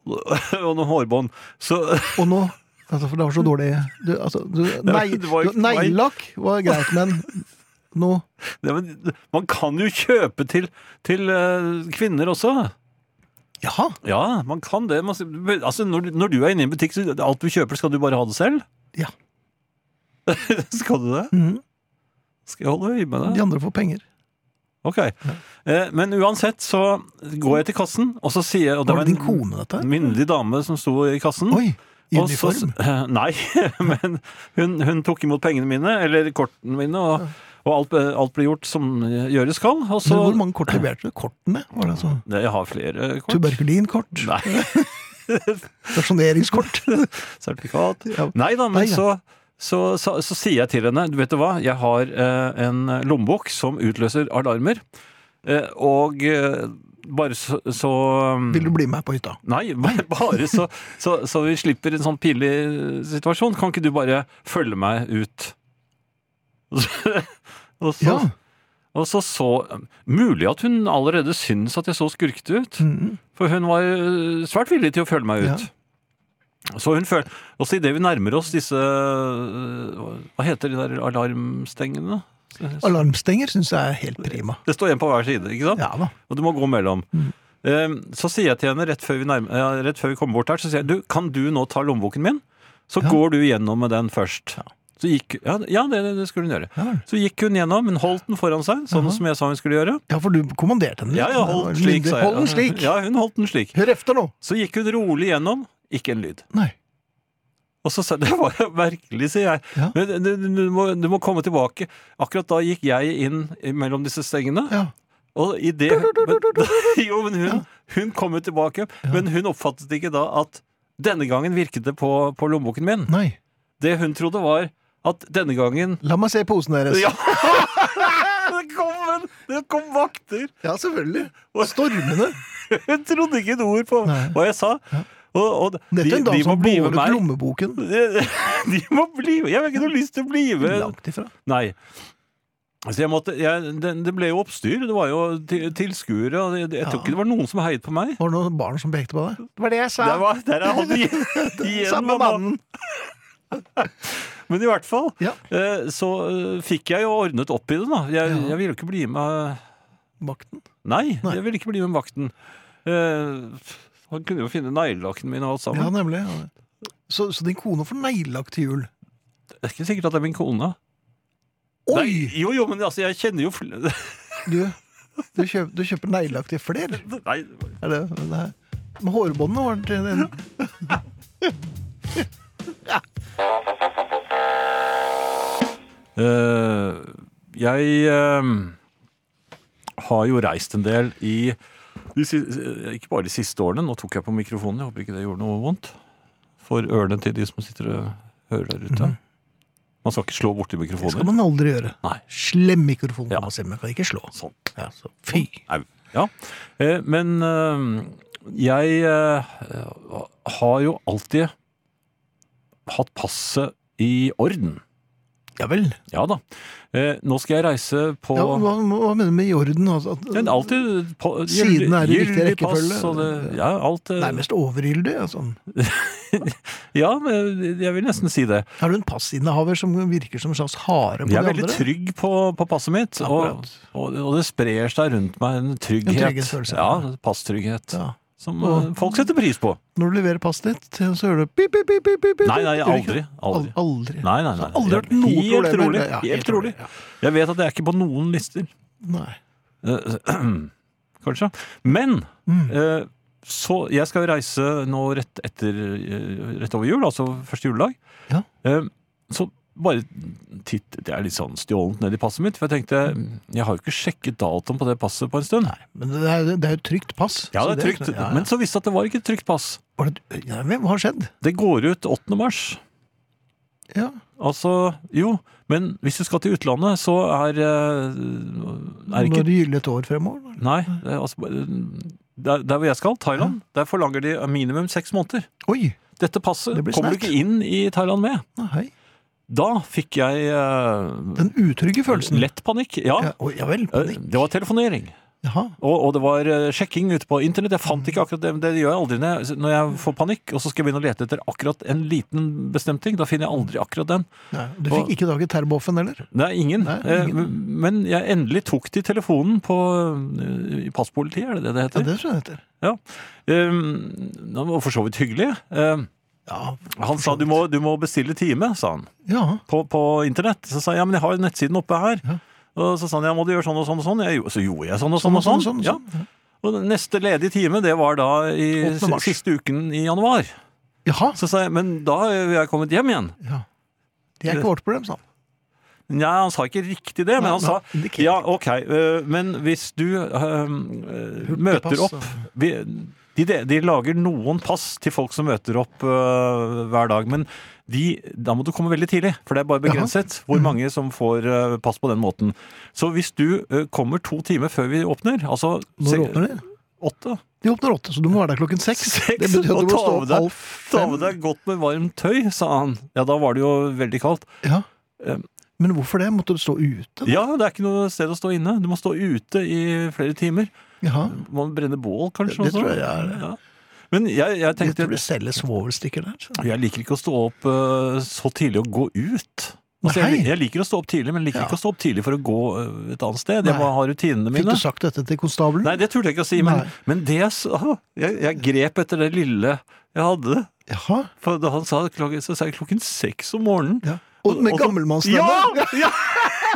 Speaker 3: og noen hårbånd, så
Speaker 2: Og nå Altså, for det var så dårlig du, altså, du, nei,
Speaker 3: det var jo ikke meg.
Speaker 2: Neglelakk var greit, men noe
Speaker 3: Ja, men man kan jo kjøpe til, til eh, kvinner også.
Speaker 2: Jaha,
Speaker 3: Ja, man kan det. Man, altså, når, du- når du er inne i en butikk, så alt du kjøper, skal du bare ha det selv?
Speaker 2: Ja.
Speaker 3: skal du det?
Speaker 2: Mhm.
Speaker 3: Skal jeg holde øye med deg?
Speaker 2: de andre får penger.
Speaker 3: Ok. Eh, men uansett så går jeg til kassen, og så sier jeg og
Speaker 2: Var det
Speaker 3: en
Speaker 2: din kone, dette?
Speaker 3: Myndig dame som sto i kassen.
Speaker 2: Oi, i
Speaker 3: Og så-
Speaker 2: uniform.
Speaker 3: eh, Nei, men hun, hun tok imot pengene mine, eller kortene mine, og, og alt, alt ble gjort som gjøres skal. Og
Speaker 2: Men hvor
Speaker 3: så
Speaker 2: mange kort leverte du? Kortene? Var det altså
Speaker 3: Jeg har flere kort.
Speaker 2: tuberkulinkort?
Speaker 3: Nei,
Speaker 2: Rasjoneringskort?
Speaker 3: sertifikat.
Speaker 2: Ja.
Speaker 3: Nei da, men
Speaker 2: Nei, ja.
Speaker 3: så, så, så, så sier jeg til henne Du vet du hva, jeg har eh, en lommebok som utløser alarmer. Eh, og eh, bare så, så
Speaker 2: Vil du bli med på hytta?
Speaker 3: Nei, bare- bare så, så, så vi slipper en sånn pinlig situasjon. Kan ikke du bare følge meg ut? Og så, og så,
Speaker 2: Ja.
Speaker 3: og så, så Mulig at hun allerede syntes at jeg så skurkete ut.
Speaker 2: Mhm.
Speaker 3: For hun var øh, svært villig til å følge meg ut.
Speaker 2: Ja.
Speaker 3: Så hun føl... Også idet vi nærmer oss disse øh, Hva heter de der alarmstengene? Mm.
Speaker 2: Alarmstenger syns jeg er helt prima.
Speaker 3: Det står en på hver side, ikke sant?
Speaker 2: Ja da.
Speaker 3: Og du må gå mellom.
Speaker 2: Mm.
Speaker 3: Eh, Så sier jeg til henne rett før vi, nærmer, ja, rett før vi kommer bort her, så sier jeg du, kan du nå ta lommeboken min? Så
Speaker 2: Ja.
Speaker 3: går du gjennom med den først. Så gikk, ja, ja det, det skulle hun gjøre.
Speaker 2: Ja vel.
Speaker 3: Så gikk hun gjennom, men holdt den foran seg, sånn
Speaker 2: Jaha.
Speaker 3: som jeg sa hun skulle gjøre.
Speaker 2: Ja, for du kommanderte henne. litt.
Speaker 3: Ja,
Speaker 2: Det
Speaker 3: ja,
Speaker 2: var
Speaker 3: holdt slik,
Speaker 2: myndig.
Speaker 3: sa jeg.
Speaker 2: Hold den slik!
Speaker 3: Ja, hun holdt den slik.
Speaker 2: Hør efter nå!
Speaker 3: Så gikk hun rolig gjennom, ikke en lyd.
Speaker 2: Nei.
Speaker 3: Og så sa det var jo merkelig, sier jeg.
Speaker 2: Ja.
Speaker 3: Men du, du, du, må, du må komme tilbake. Akkurat da gikk jeg inn mellom disse stengene.
Speaker 2: Ja.
Speaker 3: Og i det men- Jo, men hun, hun kom jo tilbake. Men hun oppfattet ikke da at denne gangen virket det på, på lommeboken min.
Speaker 2: Nei.
Speaker 3: Det hun trodde var at denne gangen
Speaker 2: La meg se posen deres.
Speaker 3: Ja! Det kom, en, det kom vakter!
Speaker 2: Ja, selvfølgelig. Stormende.
Speaker 3: Hun trodde ikke et ord på
Speaker 2: Nei.
Speaker 3: hva jeg sa. Og, og de,
Speaker 2: Dette er en dame
Speaker 3: de må
Speaker 2: som
Speaker 3: bli med
Speaker 2: båret
Speaker 3: meg.
Speaker 2: lommeboken.
Speaker 3: De må bli med. Jeg har ikke noe lyst til å bli med.
Speaker 2: Langt ifra.
Speaker 3: Nei. Så jeg måtte, jeg, det, det ble jo oppstyr. Det var jo til- tilskuere. og Jeg, jeg tror
Speaker 2: Ja.
Speaker 3: ikke det var noen som heiet på meg.
Speaker 2: Var det noen barn som pekte på deg? Det var det jeg
Speaker 3: Der, var, der er han igjen. igjen,
Speaker 2: Samme
Speaker 3: mamma.
Speaker 2: mannen.
Speaker 3: Men i hvert fall
Speaker 2: Ja.
Speaker 3: eh, så eh, fikk jeg jo ordnet opp i det, da. Jeg,
Speaker 2: Ja.
Speaker 3: jeg ville jo ikke bli med
Speaker 2: Makten.
Speaker 3: Nei,
Speaker 2: Nei.
Speaker 3: jeg ville ikke bli med vakten. Eh, han kunne jo finne neglelakken min og alt
Speaker 2: Ja,
Speaker 3: sammen.
Speaker 2: nemlig. Ja. Så, så din kone får neglelakk til jul.
Speaker 3: Det er ikke sikkert at det er min kone.
Speaker 2: Oi!
Speaker 3: Nei, jo, jo, men altså, jeg kjenner jo fl
Speaker 2: Du, du, kjøp, du kjøper neglelakk til flere.
Speaker 3: Nei,
Speaker 2: Er det, det her? Med hårbåndet var det til den.
Speaker 3: Eh, jeg eh, har jo reist en del i de, si- eh, Ikke bare de siste årene. Nå tok jeg på mikrofonen. Jeg håper ikke det gjorde noe vondt for ørene til de som sitter og hører der ute. Man skal ikke slå borti
Speaker 2: Det Mhm. skal
Speaker 3: mikrofoner.
Speaker 2: man aldri gjøre.
Speaker 3: Nei.
Speaker 2: Slem mikrofon,
Speaker 3: Ja.
Speaker 2: kan man si, men man kan ikke slå.
Speaker 3: Sånn.
Speaker 2: Ja, så, fy.
Speaker 3: Au. Ja. Eh, men eh, jeg eh, har jo alltid hatt passet i orden.
Speaker 2: Ja vel.
Speaker 3: Ja da. Eh, nå skal jeg reise på
Speaker 2: Ja, hva, hva mener du med i orden? Altså, at,
Speaker 3: Men alltid på,
Speaker 2: Siden er i riktig
Speaker 3: gyldig pass,
Speaker 2: rekkefølge.
Speaker 3: og det, ja, alt eh,
Speaker 2: Nærmest overgyldig. Altså.
Speaker 3: Ja, men jeg vil nesten si det.
Speaker 2: Er du en passinnehaver som virker som en slags hare på
Speaker 3: Jeg
Speaker 2: de
Speaker 3: er
Speaker 2: andre?
Speaker 3: veldig trygg på, på passet mitt, og,
Speaker 2: Akkurat.
Speaker 3: og, og det sprer seg rundt meg en trygghet.
Speaker 2: En trygghetsfølelse.
Speaker 3: Ja, passtrygghet.
Speaker 2: Ja.
Speaker 3: Som
Speaker 2: Og-
Speaker 3: eh, folk setter pris på.
Speaker 2: Når du leverer passet ditt, så hører du pip, pip, pip, pip, pip.
Speaker 3: Nei, nei,
Speaker 2: Gjør du ikke
Speaker 3: aldri.
Speaker 2: det?
Speaker 3: Aldri.
Speaker 2: Al- aldri.
Speaker 3: Nei, nei, nei.
Speaker 2: Så aldri vært noe
Speaker 3: helt
Speaker 2: problem med
Speaker 3: rolig,
Speaker 2: det. Ja,
Speaker 3: helt
Speaker 2: helt rolig,
Speaker 3: rolig. Jeg vet at jeg er ikke på noen lister.
Speaker 2: Nei.
Speaker 3: Eh, Kanskje. Men
Speaker 2: Mm.
Speaker 3: eh, så Jeg skal jo reise nå rett etter eh, Rett over jul, altså første juledag.
Speaker 2: Ja.
Speaker 3: Eh, så bare tittet jeg litt sånn stjålent ned i passet mitt, for jeg tenkte Jeg har jo ikke sjekket datoen på det passet på en stund.
Speaker 2: Men det er, det er jo et trygt pass.
Speaker 3: Ja,
Speaker 2: så
Speaker 3: det er trygt,
Speaker 2: ikke- ja, ja.
Speaker 3: Men så visste jeg at det var ikke et trygt pass.
Speaker 2: Var det, ja, men hva har skjedd?
Speaker 3: Det går ut 8. mars.
Speaker 2: Ja.
Speaker 3: Altså, jo, men hvis du skal til utlandet, så er eh, Er
Speaker 2: Nå
Speaker 3: ikke
Speaker 2: er det gyldig et år fremover.
Speaker 3: Nei. det er Altså, der, der hvor jeg skal, Thailand, der forlanger de minimum seks måneder.
Speaker 2: Oi!
Speaker 3: Dette passet
Speaker 2: Det blir
Speaker 3: kommer du
Speaker 2: snert.
Speaker 3: ikke inn i Thailand med.
Speaker 2: Nei.
Speaker 3: Da fikk jeg eh,
Speaker 2: Den utrygge følelsen.
Speaker 3: lett panikk. Ja,
Speaker 2: Ja, oi, ja vel.
Speaker 3: eh, det var telefonering.
Speaker 2: Jaha.
Speaker 3: Og, og det var eh, sjekking ute på internett. Jeg
Speaker 2: Mm.
Speaker 3: fant ikke akkurat det. men Det gjør jeg aldri når jeg, når jeg får panikk. Og så skal jeg begynne å lete etter akkurat en liten bestemt ting. Da finner jeg aldri akkurat den.
Speaker 2: Nei, du
Speaker 3: Og-
Speaker 2: fikk ikke tak i terboffen heller?
Speaker 3: Det er ingen.
Speaker 2: Nei,
Speaker 3: Eh, Men jeg endelig tok til telefonen på eh, i passpolitiet, er det det det
Speaker 2: Ja,
Speaker 3: heter?
Speaker 2: det tror jeg det heter.
Speaker 3: Um, Han var for så vidt hyggelig. Eh,
Speaker 2: Ja,
Speaker 3: Han sa du må, du må bestille time, sa han.
Speaker 2: ja.
Speaker 3: På, på internett. Så sa jeg ja, men jeg har jo nettsiden oppe her.
Speaker 2: Ja.
Speaker 3: Og så sa han ja, må du gjøre sånn og sånn og sånn. Jeg, gjorde- så gjorde jeg sånn og sånn. og sånn.
Speaker 2: sånn,
Speaker 3: Ja. Og den neste ledige time, det var da i
Speaker 2: 8. mars.
Speaker 3: siste uken i januar.
Speaker 2: Jaha.
Speaker 3: Så sa jeg, men da er jeg kommet hjem igjen.
Speaker 2: Ja. Det er ikke vårt problem, sa han.
Speaker 3: Nei, han sa ikke riktig det, men
Speaker 2: Nei,
Speaker 3: han sa
Speaker 2: men indikerer.
Speaker 3: ja, ok, øh, men hvis du øh, øh, møter
Speaker 2: pass,
Speaker 3: opp vi, de, de lager noen pass til folk som møter opp øh, hver dag, men de, da må du komme veldig tidlig, for det er bare begrenset
Speaker 2: Mm.
Speaker 3: hvor mange som får øh, pass på den måten. Så hvis du øh, kommer to timer før vi åpner, altså
Speaker 2: Når
Speaker 3: se-
Speaker 2: åpner de?
Speaker 3: åtte,
Speaker 2: De åpner åtte, så du må være der klokken seks.
Speaker 3: Seks,
Speaker 2: Det betyr at
Speaker 3: og
Speaker 2: du må
Speaker 3: ta
Speaker 2: stå
Speaker 3: av
Speaker 2: opp
Speaker 3: deg-
Speaker 2: halv
Speaker 3: ta
Speaker 2: fem.
Speaker 3: med deg godt med varmt tøy, sa han. Ja, da var det jo veldig kaldt.
Speaker 2: Ja.
Speaker 3: Um,
Speaker 2: Men hvorfor det? Måtte du stå ute?
Speaker 3: Ja, det er ikke noe sted å stå inne. Du må stå ute i flere timer.
Speaker 2: Jaha.
Speaker 3: Man brenner bål, kanskje.
Speaker 2: Det
Speaker 3: også.
Speaker 2: tror jeg er-
Speaker 3: Ja. Men jeg, jeg
Speaker 2: Jeg
Speaker 3: tenkte
Speaker 2: tror det selges svovelstikker der. så.
Speaker 3: Jeg liker ikke å stå opp eh, så tidlig og gå ut. Altså, jeg,
Speaker 2: Nei.
Speaker 3: jeg liker å stå opp tidlig, men liker
Speaker 2: Ja.
Speaker 3: ikke å stå opp tidlig for å gå eh, et annet sted. Jeg
Speaker 2: Nei.
Speaker 3: må ha rutinene
Speaker 2: Fikk
Speaker 3: mine.
Speaker 2: du sagt dette til konstabelen?
Speaker 3: Nei, det turte jeg ikke å si, men,
Speaker 2: Nei.
Speaker 3: men det jeg sa jeg, jeg grep etter det lille jeg hadde.
Speaker 2: Jaha.
Speaker 3: For da han sa klokken, så sa jeg klokken seks om morgenen.
Speaker 2: Ja. Og med
Speaker 3: Og så-
Speaker 2: gammelmannsstemme?
Speaker 3: Ja! ja!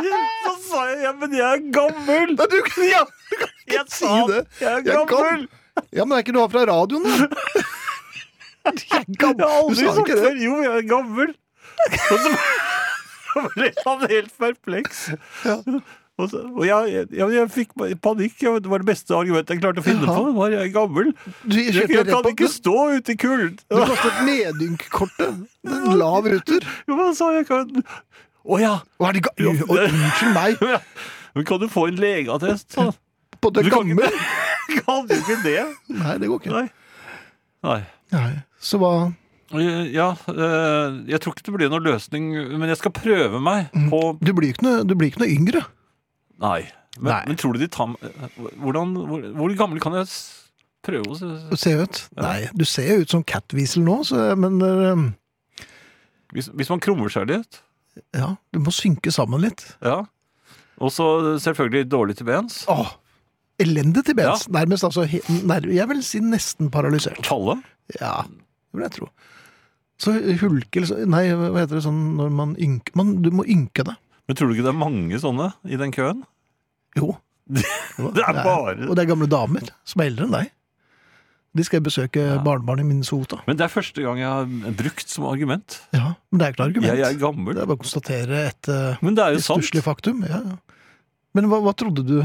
Speaker 3: Så sa jeg ja, men jeg er gammel!
Speaker 2: Nei, du kan, ja, du kan ikke
Speaker 3: Jeg
Speaker 2: si
Speaker 3: sa
Speaker 2: det!
Speaker 3: jeg er
Speaker 2: Jeg kan-
Speaker 3: gammel!
Speaker 2: Ja, men det er ikke du har fra radioen, da! Jeg er gammel.
Speaker 3: Jeg har
Speaker 2: Du
Speaker 3: aldri
Speaker 2: sa
Speaker 3: sagt
Speaker 2: ikke
Speaker 3: det.
Speaker 2: det.
Speaker 3: Jo, jeg er gammel. Og så så ble han helt perpleks. Og, så, og jeg, jeg, jeg, fikk bare panikk. Jeg- Det var det beste argumentet jeg klarte å finne
Speaker 2: Jaha.
Speaker 3: på. Var jeg er gammel?
Speaker 2: Du
Speaker 3: Jeg,
Speaker 2: kjørte
Speaker 3: jeg
Speaker 2: rett
Speaker 3: kan
Speaker 2: på
Speaker 3: ikke stå ute i kulden.
Speaker 2: Du kastet nedynkkortet. En lav ruter.
Speaker 3: Jo, men han sa jeg kan Å ja!
Speaker 2: Og er det ga Oi, unnskyld meg,
Speaker 3: Men kan du få en legeattest? sa han.
Speaker 2: på det
Speaker 3: Du kan ikke
Speaker 2: gamle?
Speaker 3: Kan du ikke det?
Speaker 2: Nei, det går ikke.
Speaker 3: Nei. Nei.
Speaker 2: Nei. Så hva
Speaker 3: Ja, eh, jeg tror ikke det blir noen løsning, men jeg skal prøve meg på
Speaker 2: Du blir ikke noe, du blir ikke noe yngre.
Speaker 3: Nei. Men,
Speaker 2: Nei.
Speaker 3: men tror du de tar hvordan, hvor, hvor gammel kan jeg s- prøve å s-
Speaker 2: Du ser jo ut. Nei, du ser jo ut som Catweasel nå, så, men eh,
Speaker 3: hvis, hvis man krummer seg litt?
Speaker 2: ja, du må synke sammen litt.
Speaker 3: Ja. Og så selvfølgelig dårlig til bens.
Speaker 2: Åh, elendig til bens. Nærmest altså, he, nær, jeg vil si nesten paralysert.
Speaker 3: Kalle?
Speaker 2: Ja, det vil jeg tro. Så eh, hulkel, nei, hva heter det sånn når man ynker, man, du må ynke det.
Speaker 3: Men tror du ikke det er mange sånne i den køen?
Speaker 2: Jo.
Speaker 3: Det er bare-
Speaker 2: Og det er gamle damer som er eldre enn deg. De skal besøke barnebarn i Minnesota.
Speaker 3: Men det er første gang jeg har brukt som argument.
Speaker 2: Ja, men det er jo ikke noe argument.
Speaker 3: Jeg, jeg er gammel.
Speaker 2: Det er bare å konstatere et eh,
Speaker 3: Men det er jo sant.
Speaker 2: stusslig faktum. Ja, ja. Men hva, hva trodde du?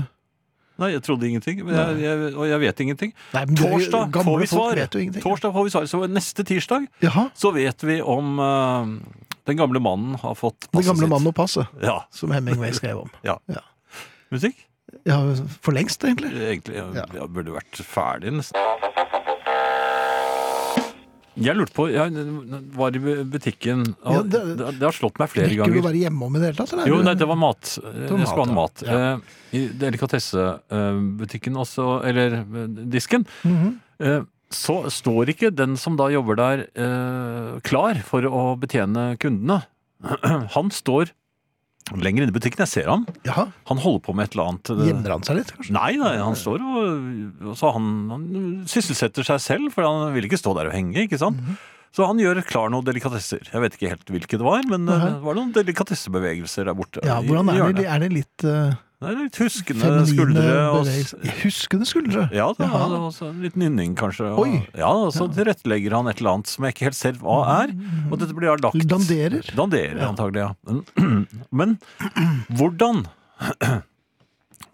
Speaker 3: Nei, jeg trodde ingenting. Men jeg, jeg, og jeg vet ingenting.
Speaker 2: Nei, men det er jo-
Speaker 3: Torsdag
Speaker 2: gamle
Speaker 3: får vi
Speaker 2: folk
Speaker 3: svar.
Speaker 2: vet jo ingenting.
Speaker 3: Torsdag får vi svar. Så neste tirsdag
Speaker 2: Jaha,
Speaker 3: så vet vi om eh, den gamle mannen har fått passet
Speaker 2: Den gamle
Speaker 3: Altså, sitt.
Speaker 2: mannen og passet,
Speaker 3: Ja.
Speaker 2: som Hemingway skrev om.
Speaker 3: Musikk?
Speaker 2: Ja, For lengst, egentlig.
Speaker 3: Egentlig jeg,
Speaker 2: Ja.
Speaker 3: jeg burde vært ferdig nesten. Jeg lurte på Jeg var i butikken og
Speaker 2: Ja,
Speaker 3: det,
Speaker 2: det-
Speaker 3: det har slått meg flere
Speaker 2: Rekker du å
Speaker 3: ganger.
Speaker 2: være hjemme om i det hele tatt? eller?
Speaker 3: Jo, nei, det var mat.
Speaker 2: var
Speaker 3: jeg skulle
Speaker 2: mat,
Speaker 3: ha mat. Eh, I delikatessebutikken også, eller eh, disken,
Speaker 2: Mhm.
Speaker 3: eh, så står ikke den som da jobber der, eh, klar for å betjene kundene. Han står lenger inne i butikken. Jeg ser ham.
Speaker 2: Jaha,
Speaker 3: Han holder på med et eller annet. eh,
Speaker 2: Gjemmer han seg litt, kanskje?
Speaker 3: Nei, nei, han står og og så han, han sysselsetter seg selv, for han vil ikke stå der og henge, ikke sant?
Speaker 2: Mhm.
Speaker 3: Så han gjør klar noen delikatesser. Jeg vet ikke helt hvilke det var, men eh,
Speaker 2: Nei.
Speaker 3: det var noen delikatessebevegelser der borte.
Speaker 2: Ja,
Speaker 3: i-
Speaker 2: hvordan
Speaker 3: i
Speaker 2: er
Speaker 3: hjørnet.
Speaker 2: det? Er det litt eh,
Speaker 3: Det er litt huskende
Speaker 2: feminine
Speaker 3: skuldre. Og, s-
Speaker 2: bevegelser? Huskende skuldre?
Speaker 3: ja, det
Speaker 2: Jaha.
Speaker 3: var også en liten nynning, kanskje. Og,
Speaker 2: Oi.
Speaker 3: Ja, og så tilrettelegger han et eller annet som jeg ikke helt ser hva er, og dette blir da lagt
Speaker 2: Danderer?
Speaker 3: Danderer,
Speaker 2: Ja.
Speaker 3: antagelig, ja. Men, men hvordan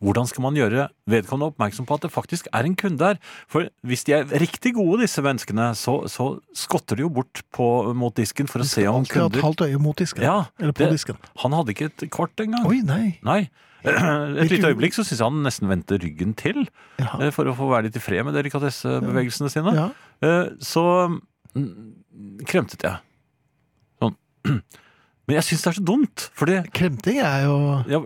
Speaker 3: Hvordan skal man gjøre vedkommende oppmerksom på at det faktisk er en kunde her? For hvis de er riktig gode, disse menneskene, så, så skotter de jo bort på, mot disken for å se om
Speaker 2: Alltid ha et
Speaker 3: kunder
Speaker 2: halvt øye mot disken.
Speaker 3: Ja,
Speaker 2: Eller på
Speaker 3: det-
Speaker 2: disken.
Speaker 3: Han hadde ikke et kort engang.
Speaker 2: Oi, nei.
Speaker 3: Nei. Et
Speaker 2: Hvilken-
Speaker 3: lite øyeblikk så syns jeg han nesten vendte ryggen til
Speaker 2: Jaha.
Speaker 3: eh, for å få være litt i fred med delikatessebevegelsene sine.
Speaker 2: Ja.
Speaker 3: Eh, Så mm, kremtet jeg. Sånn. Men jeg syns det er så dumt, fordi
Speaker 2: Kremting er jo
Speaker 3: ja,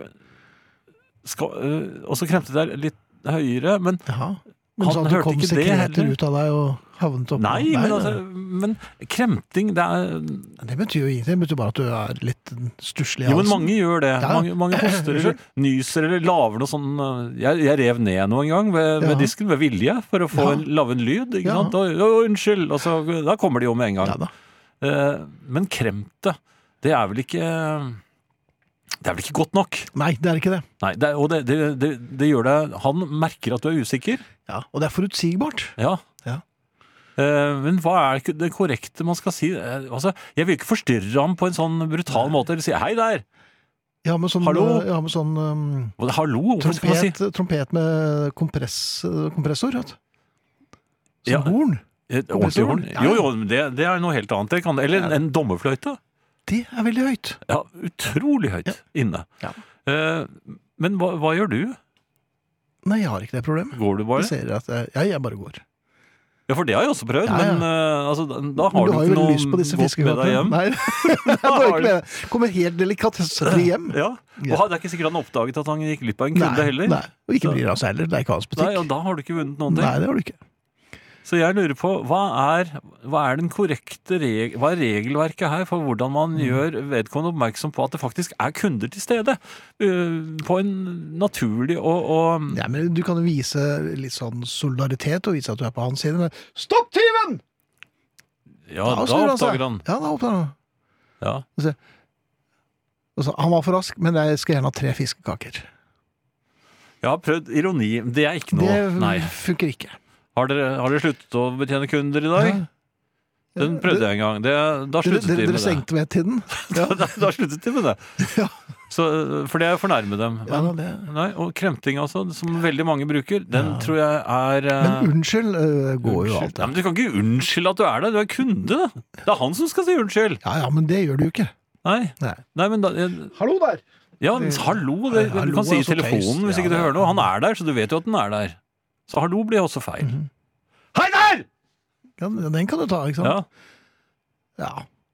Speaker 3: skal, øh, Og eh, så kremtet jeg litt høyere, men
Speaker 2: Jaha. Men
Speaker 3: Han
Speaker 2: sånn at det
Speaker 3: hørte
Speaker 2: kom
Speaker 3: ikke det
Speaker 2: sekreter
Speaker 3: heller.
Speaker 2: ut av deg og havnet opp
Speaker 3: Nei, men, altså, men kremting det er,
Speaker 2: Det betyr jo ingenting. Det betyr bare at du er litt stusslig i
Speaker 3: Jo, men
Speaker 2: halsen.
Speaker 3: mange gjør det.
Speaker 2: Ja.
Speaker 3: Mange, mange hoster eller nyser eller laver noe sånn eh, Jeg, jeg rev ned noen gang ved, ved
Speaker 2: Ja.
Speaker 3: disken ved vilje for å få
Speaker 2: Ja.
Speaker 3: en, lave en lyd. Ikke
Speaker 2: Ja.
Speaker 3: sant? Og, «Å, unnskyld! Og så, da kommer de jo med en gang.
Speaker 2: Ja da.
Speaker 3: Eh, Men kremte, det er vel ikke Det er vel ikke godt nok?
Speaker 2: Nei, det er ikke det.
Speaker 3: Nei, det, er- og det, det, det, det gjør deg Han merker at du er usikker.
Speaker 2: Ja, Og det er forutsigbart.
Speaker 3: Ja.
Speaker 2: Ja.
Speaker 3: Eh, Men hva er ikke det korrekte man skal si? Eh, Altså, jeg vil ikke forstyrre ham på en sånn brutal måte. Eller si 'hei der',
Speaker 2: Jeg har med sånn,
Speaker 3: Hallo?
Speaker 2: Jeg har med sånn um,
Speaker 3: Og det- 'hallo'. Hva skal man si?
Speaker 2: trompet, trompet med kompress, eh, kompressor. Vet. du. Som
Speaker 3: Ja.
Speaker 2: horn.
Speaker 3: Eh, Et Ordentlig horn?
Speaker 2: Ja, ja.
Speaker 3: Jo, jo, men det, det er noe helt annet. Det kan, eller en- en dommerfløyte.
Speaker 2: Det er veldig høyt.
Speaker 3: Ja, utrolig
Speaker 2: Ja.
Speaker 3: høyt inne.
Speaker 2: Ja.
Speaker 3: Eh, Men hva, hva gjør du?
Speaker 2: Nei, jeg har ikke det problemet.
Speaker 3: Går du
Speaker 2: Jeg
Speaker 3: bare?
Speaker 2: ser at eh, jeg, ja, jeg bare går.
Speaker 3: Ja, for det har jeg også prøvd,
Speaker 2: Ja, ja.
Speaker 3: men eh, altså, da- da
Speaker 2: Men
Speaker 3: har du,
Speaker 2: har jo
Speaker 3: ikke
Speaker 2: veldig
Speaker 3: noe
Speaker 2: lyst på disse
Speaker 3: godt med deg
Speaker 2: fiskekakene.
Speaker 3: hjem.
Speaker 2: Nei, jeg
Speaker 3: Da
Speaker 2: har
Speaker 3: har
Speaker 2: ikke
Speaker 3: du-
Speaker 2: det. Kommer helt delikatesselig hjem.
Speaker 3: Ja. Og
Speaker 2: Ja.
Speaker 3: han- det er ikke sikkert han oppdaget at han gikk litt på en kunde heller.
Speaker 2: nei. Og ikke bryr han seg heller. Det er ikke hans
Speaker 3: Nei,
Speaker 2: butikk.
Speaker 3: og da har du ikke vunnet noen ting.
Speaker 2: Nei, det har du ikke.
Speaker 3: Så jeg lurer på, hva er, hva er den korrekte reg hva er regelverket her for hvordan man
Speaker 2: Mm.
Speaker 3: gjør vedkommende oppmerksom på at det faktisk er kunder til stede? eh, På en naturlig og, og mm,
Speaker 2: Nei, men Du kan jo vise litt sånn solidaritet og vise at du er på hans side. Men stopp tyven!
Speaker 3: Ja, da,
Speaker 2: snur
Speaker 3: oppdager han.
Speaker 2: Ja, da oppdager han.
Speaker 3: Ja.
Speaker 2: Og så, han var for rask, men jeg skal gjerne ha tre fiskekaker.
Speaker 3: Jeg har prøvd ironi. Det er ikke noe.
Speaker 2: Det
Speaker 3: Nei.
Speaker 2: funker ikke.
Speaker 3: Har dere, har dere sluttet å betjene kunder i dag?
Speaker 2: Ja.
Speaker 3: Den prøvde jeg en gang. Det, da
Speaker 2: Dere,
Speaker 3: sluttet
Speaker 2: dere,
Speaker 3: de
Speaker 2: dere
Speaker 3: med det.
Speaker 2: stengte ved tiden? Ja,
Speaker 3: Da, da sluttet de med det.
Speaker 2: Ja.
Speaker 3: Så, eh, for det er å fornærme dem.
Speaker 2: ja
Speaker 3: Men,
Speaker 2: det.
Speaker 3: nei, og kremting, altså, som veldig mange bruker, den tror jeg er eh,
Speaker 2: Men unnskyld eh, går jo
Speaker 3: unnskyld.
Speaker 2: alltid.
Speaker 3: Nei, men Du kan ikke unnskylde at du er der, du er kunde. Det er han som skal si unnskyld.
Speaker 2: Ja, ja, men det gjør du jo ikke.
Speaker 3: Nei,
Speaker 2: Nei.
Speaker 3: nei men da, eh,
Speaker 2: Hallo der!
Speaker 3: Ja, men hallo, det,
Speaker 2: Nei, hallo
Speaker 3: du kan si
Speaker 2: er
Speaker 3: i
Speaker 2: så
Speaker 3: telefonen
Speaker 2: tøys.
Speaker 3: hvis
Speaker 2: Ja,
Speaker 3: ikke du
Speaker 2: det-
Speaker 3: hører noe. Han er der, så du vet jo at den er der. Så hallo blir også feil.
Speaker 2: Mhm.
Speaker 3: Hei der!
Speaker 2: Ja, den kan du ta, ikke
Speaker 3: Ja.
Speaker 2: sant? Ja.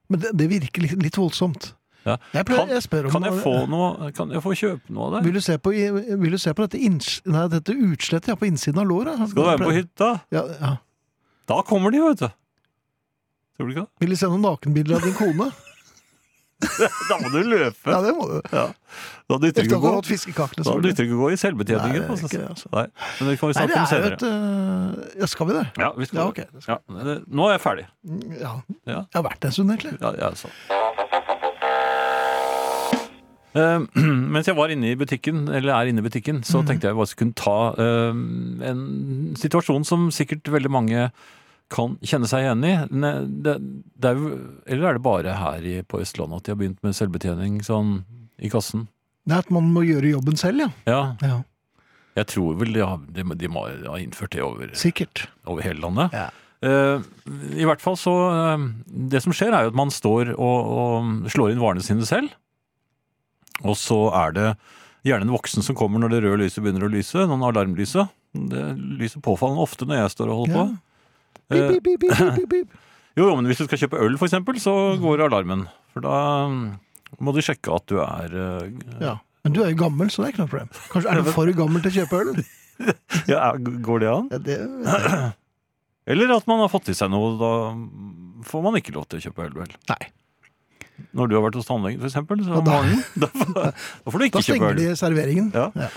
Speaker 2: Men det, det virker litt, litt voldsomt.
Speaker 3: Ja.
Speaker 2: Jeg, pleier,
Speaker 3: Kan-
Speaker 2: jeg spør om
Speaker 3: Kan jeg få noe, kan jeg få kjøpe noe av deg?
Speaker 2: vil du, se på, i- vil du se på dette, inns, nei, dette utslettet jeg har på innsiden av låret?
Speaker 3: Skal du være med på hytta?
Speaker 2: Ja, ja.
Speaker 3: Da kommer de, vet du. Tror du ikke det?
Speaker 2: Vil du se noen nakenbilder av din kone?
Speaker 3: Da må du løpe.
Speaker 2: Ja, det må du.
Speaker 3: Da nytter det
Speaker 2: Etter at
Speaker 3: ikke å
Speaker 2: du har
Speaker 3: gå.
Speaker 2: hatt fiskekakene,
Speaker 3: Da
Speaker 2: selvfølgelig.
Speaker 3: nytter det ikke å gå i
Speaker 2: Nei,
Speaker 3: selvbetjeningen.
Speaker 2: det er
Speaker 3: altså.
Speaker 2: ikke det, altså.
Speaker 3: Nei, men
Speaker 2: Nei,
Speaker 3: det kan vi
Speaker 2: det
Speaker 3: snakke om
Speaker 2: er jo
Speaker 3: senere.
Speaker 2: et øh, Ja, skal vi det?
Speaker 3: Ja, vi skal.
Speaker 2: Ja, ok.
Speaker 3: Ja, det- nå er jeg ferdig.
Speaker 2: Ja.
Speaker 3: Ja.
Speaker 2: Jeg har vært det en stund, egentlig.
Speaker 3: Ja, ja, så. Eh, mens jeg var inne i butikken, eller er inne i butikken, så
Speaker 2: Mhm.
Speaker 3: tenkte jeg bare skulle kunne ta eh, en situasjon som sikkert veldig mange kan kjenne seg igjen i. Ne- Det, det er jo, eller er det bare her i, på Østlandet at de har begynt med selvbetjening sånn i kassen?
Speaker 2: Det er at man må gjøre jobben selv, ja.
Speaker 3: Ja,
Speaker 2: ja.
Speaker 3: jeg tror vel de har, de, de må ha innført det over,
Speaker 2: Sikkert.
Speaker 3: over hele landet.
Speaker 2: Ja.
Speaker 3: Eh, I hvert fall så eh, Det som skjer, er jo at man står og, og slår inn varene sine selv. Og så er det gjerne en voksen som kommer når det røde lyset begynner å lyse. Noen alarmlyset. Det lyser påfallende ofte når jeg står og holder
Speaker 2: Ja.
Speaker 3: på.
Speaker 2: Bip,
Speaker 3: Eh,
Speaker 2: bip, bip, bip, bip, bip.
Speaker 3: jo, jo, men hvis du skal kjøpe øl, for eksempel, så går alarmen. For da mm, må de sjekke at du er eh,
Speaker 2: Ja. Men du er jo gammel, så det er ikke noe problem. Kanskje Er du for gammel til å kjøpe øl?
Speaker 3: ja, er- Går det an?
Speaker 2: Ja, det,
Speaker 3: Eller at man har fått i seg noe. Da får man ikke lov til å kjøpe øl, vel?
Speaker 2: nei.
Speaker 3: Når du har vært hos tannlegen, for eksempel, så
Speaker 2: Ja,
Speaker 3: om
Speaker 2: da-
Speaker 3: morgenen, da, får, da får du
Speaker 2: Da
Speaker 3: ikke kjøpe
Speaker 2: stenger
Speaker 3: øl.
Speaker 2: de serveringen.
Speaker 3: Ja.
Speaker 2: Ja.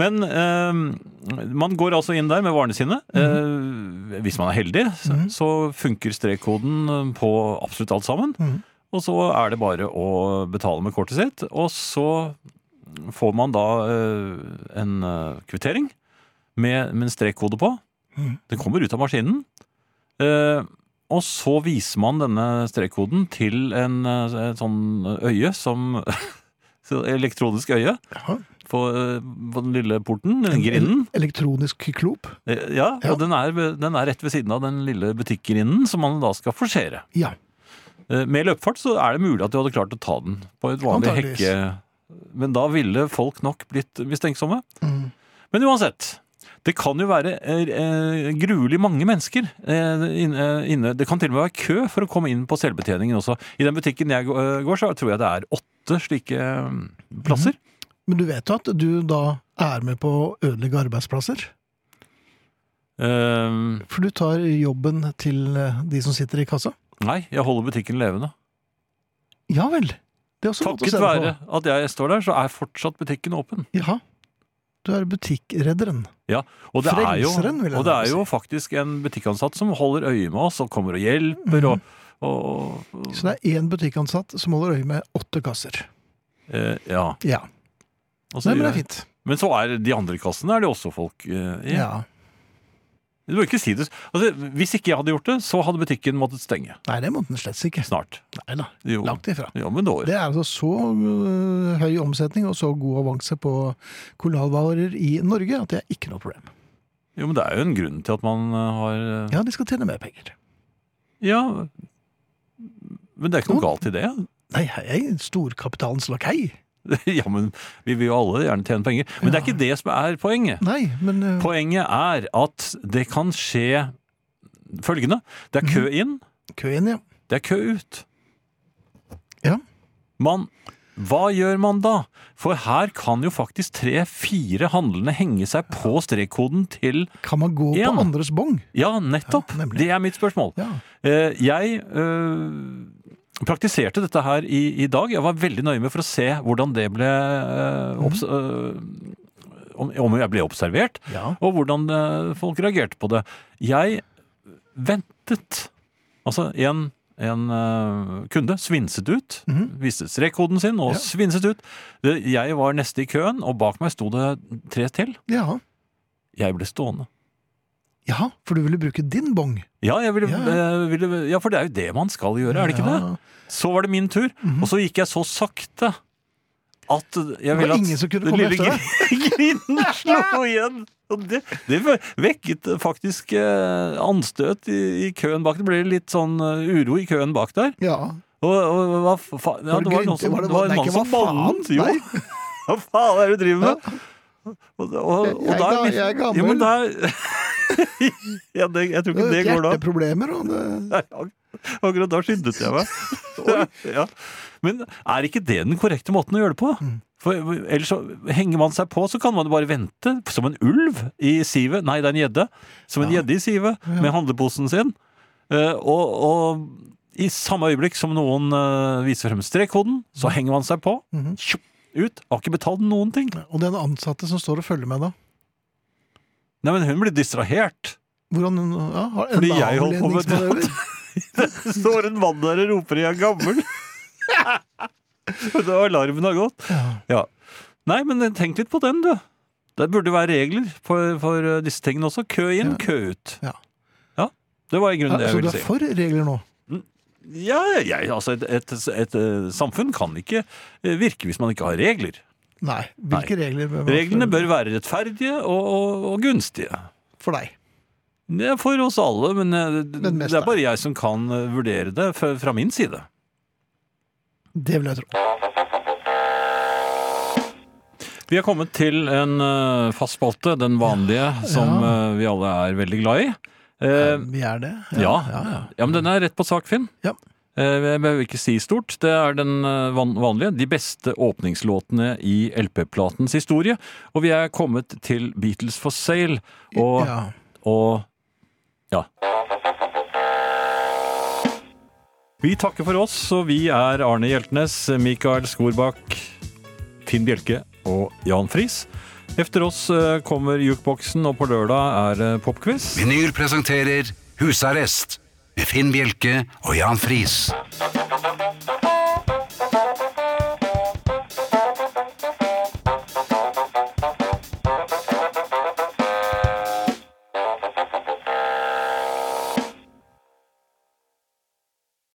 Speaker 3: Men eh, man går altså inn der med varene sine.
Speaker 2: Mhm.
Speaker 3: Eh, hvis man er heldig, så, så funker strekkoden eh, på absolutt alt sammen.
Speaker 2: Mhm.
Speaker 3: Og så er det bare å betale med kortet sitt, og så får man da eh, en eh, kvittering med, med en strekkode på.
Speaker 2: Mhm.
Speaker 3: Den kommer ut av maskinen. Eh, og så viser man denne strekkoden til en, eh, et sånn øye som så Elektronisk øye
Speaker 2: Ja.
Speaker 3: på, eh, på den lille porten, den grinden.
Speaker 2: Elektronisk klop.
Speaker 3: Eh, Ja,
Speaker 2: Ja.
Speaker 3: og den er, ved- den er rett ved siden av den lille butikkgrinden som man da skal forsere.
Speaker 2: Ja.
Speaker 3: Eh, Med løpefart så er det mulig at du hadde klart å ta den på et vanlig
Speaker 2: Antageligvis.
Speaker 3: hekke. Men da ville folk nok blitt mistenksomme.
Speaker 2: Mm.
Speaker 3: Men uansett. Det kan jo være eh, eh, gruelig mange mennesker eh, inne- inne. Det kan til og med være kø for å komme inn på selvbetjeningen også. I den butikken jeg gå- eh, går, så tror jeg det er åtte slike eh, mm, plasser.
Speaker 2: Men du vet jo at du da er med på å ødelegge arbeidsplasser?
Speaker 3: Eh,
Speaker 2: For du tar jobben til eh, de som sitter i kassa?
Speaker 3: nei, jeg holder butikken levende.
Speaker 2: Ja vel! Det er også godt å
Speaker 3: Takket
Speaker 2: se deg
Speaker 3: være at jeg står der, så er fortsatt butikken åpen.
Speaker 2: på. Ja. Du er butikkredderen.
Speaker 3: Og det, er jo,
Speaker 2: Frelseren, vil jeg
Speaker 3: og det er
Speaker 2: si.
Speaker 3: jo faktisk en butikkansatt som holder øye med oss, og kommer og hjelper, og,
Speaker 2: Mm.
Speaker 3: og, og
Speaker 2: Så det er én butikkansatt som holder øye med åtte kasser.
Speaker 3: eh, Ja.
Speaker 2: Ja.
Speaker 3: og så
Speaker 2: Nei, men det er
Speaker 3: gjør-
Speaker 2: fint.
Speaker 3: men så er de andre kassene er det også folk eh, i.
Speaker 2: Ja.
Speaker 3: Du må ikke si det. Altså, hvis ikke jeg hadde gjort det, så hadde butikken måttet stenge
Speaker 2: Nei, det måtte den slett ikke.
Speaker 3: snart.
Speaker 2: Nei da.
Speaker 3: Jo,
Speaker 2: Langt ifra.
Speaker 3: ja, men da
Speaker 2: Det er altså så øh, høy omsetning og så god avanse på kolonialvarer i Norge at det er ikke noe problem.
Speaker 3: Jo, men det er jo en grunn til at man eh, har eh,
Speaker 2: Ja, de skal tjene mer penger.
Speaker 3: Ja. Men det er ikke noe galt i det.
Speaker 2: Nei, jeg er storkapitalens lakei.
Speaker 3: ja, men vi vil jo alle gjerne tjene penger. Men det er ikke det som er poenget.
Speaker 2: Nei, men øh,
Speaker 3: Poenget er at det kan skje følgende. Det er kø
Speaker 2: Mhm.
Speaker 3: inn,
Speaker 2: køen, ja.
Speaker 3: det er kø ut.
Speaker 2: Ja.
Speaker 3: Man hva gjør man da? For her kan jo faktisk tre-fire handlende henge seg på strekkoden til
Speaker 2: Kan man gå
Speaker 3: En.
Speaker 2: på andres bong?
Speaker 3: Ja, nettopp!
Speaker 2: Ja, nemlig.
Speaker 3: det er mitt spørsmål.
Speaker 2: Ja.
Speaker 3: Eh, jeg eh, praktiserte dette her i, i dag. Jeg var veldig nøye med for å se hvordan det ble eh, obs
Speaker 2: Mhm.
Speaker 3: eh, om, om jeg ble observert,
Speaker 2: Ja.
Speaker 3: og hvordan eh, folk reagerte på det. Jeg ventet. Altså, en, en eh, kunde svinset ut, viste strekkoden sin og
Speaker 2: Ja.
Speaker 3: svinset ut. Det- Jeg var neste i køen, og bak meg sto det tre til.
Speaker 2: ja.
Speaker 3: Jeg ble stående.
Speaker 2: Ja, for du ville bruke din bong.
Speaker 3: Ja, jeg ville,
Speaker 2: Ja.
Speaker 3: eh, ville, ja, for det er jo det man skal gjøre, er det ikke
Speaker 2: ja. Mhm.
Speaker 3: det? Så var det min tur, og så gikk jeg så sakte at
Speaker 2: Det
Speaker 3: jeg ville
Speaker 2: var
Speaker 3: at
Speaker 2: ingen som kunne
Speaker 3: den
Speaker 2: komme
Speaker 3: lille
Speaker 2: etter
Speaker 3: gri- grinen slo igjen. Og det, det vekket faktisk eh, anstøt i, i køen bak. Det ble litt sånn eh, uro i køen bak der.
Speaker 2: Ja.
Speaker 3: Og, og hva faen ja,
Speaker 2: Var det
Speaker 3: Det var noen
Speaker 2: grynte?
Speaker 3: som,
Speaker 2: Var det-
Speaker 3: det var en
Speaker 2: nei,
Speaker 3: mann
Speaker 2: ikke
Speaker 3: som
Speaker 2: hva faen?
Speaker 3: bannet. Jo,
Speaker 2: Nei.
Speaker 3: hva faen er det du driver med? Og, og, og
Speaker 2: Jeg er
Speaker 3: da
Speaker 2: ga-
Speaker 3: litt-
Speaker 2: jeg er gammel.
Speaker 3: Jo, men der, ja, det, jeg
Speaker 2: Det
Speaker 3: tror ikke
Speaker 2: er
Speaker 3: det går da.
Speaker 2: hjerteproblemer, og det
Speaker 3: Nei, ak- Akkurat da skyndet jeg meg. ja. Men er ikke det den korrekte måten å gjøre det på? For Ellers så henger man seg på, så kan man bare vente som en ulv i sivet. Nei, det er en gjedde. Som en gjedde i sivet med handleposen sin. Eh, og, og i samme øyeblikk som noen eh, viser frem strekkoden, så henger man seg på. Tjopp, Ut. Har ikke betalt noen ting.
Speaker 2: Og den ansatte som står og følger med, da?
Speaker 3: Nei, men hun blir distrahert.
Speaker 2: Hvordan ja, har en
Speaker 3: Fordi jeg holdt på med
Speaker 2: avledningsmanøver?
Speaker 3: Det står en mann der og roper 'jeg er gammel'. Og da alarmen har gått.
Speaker 2: Ja.
Speaker 3: Ja. Nei, men tenk litt på den, du. Det burde være regler for, for eh, disse tingene også. Kø inn,
Speaker 2: Ja.
Speaker 3: kø ut.
Speaker 2: Ja.
Speaker 3: Ja, Det var i grunnen
Speaker 2: Ja,
Speaker 3: det jeg
Speaker 2: så du
Speaker 3: ville
Speaker 2: er
Speaker 3: si.
Speaker 2: for regler nå?
Speaker 3: Ja, jeg, altså et, et, et eh, samfunn kan ikke eh, virke hvis man ikke har regler.
Speaker 2: Nei. Hvilke regler bør man
Speaker 3: Reglene
Speaker 2: følge
Speaker 3: bør være rettferdige og, og, og gunstige.
Speaker 2: for deg?
Speaker 3: Det er for oss alle, men eh,
Speaker 2: Men mest
Speaker 3: det er bare jeg som kan eh, vurdere det fra fra min side.
Speaker 2: Det vil jeg tro.
Speaker 3: Vi er kommet til en eh, fast spalte, den vanlige, som eh, vi alle er veldig glad i. Eh,
Speaker 2: Vi er det?
Speaker 3: ja.
Speaker 2: ja, ja.
Speaker 3: ja, men den er rett på sak, Finn.
Speaker 2: Ja.
Speaker 3: Eh, Jeg behøver ikke si stort. Det er den eh, van- vanlige. De beste åpningslåtene i LP-platens historie. Og vi er kommet til Beatles for sale. Og,
Speaker 2: ja.
Speaker 3: og ja. Vi takker for oss, og vi er Arne Hjeltnes, Mikael Skorbakk, Finn Bjelke og Jan Friis. Efter oss eh, kommer jukeboksen, og på lørdag er det popquiz.
Speaker 1: Vinyl presenterer Husarrest med Finn Bjelke og Jan Friis.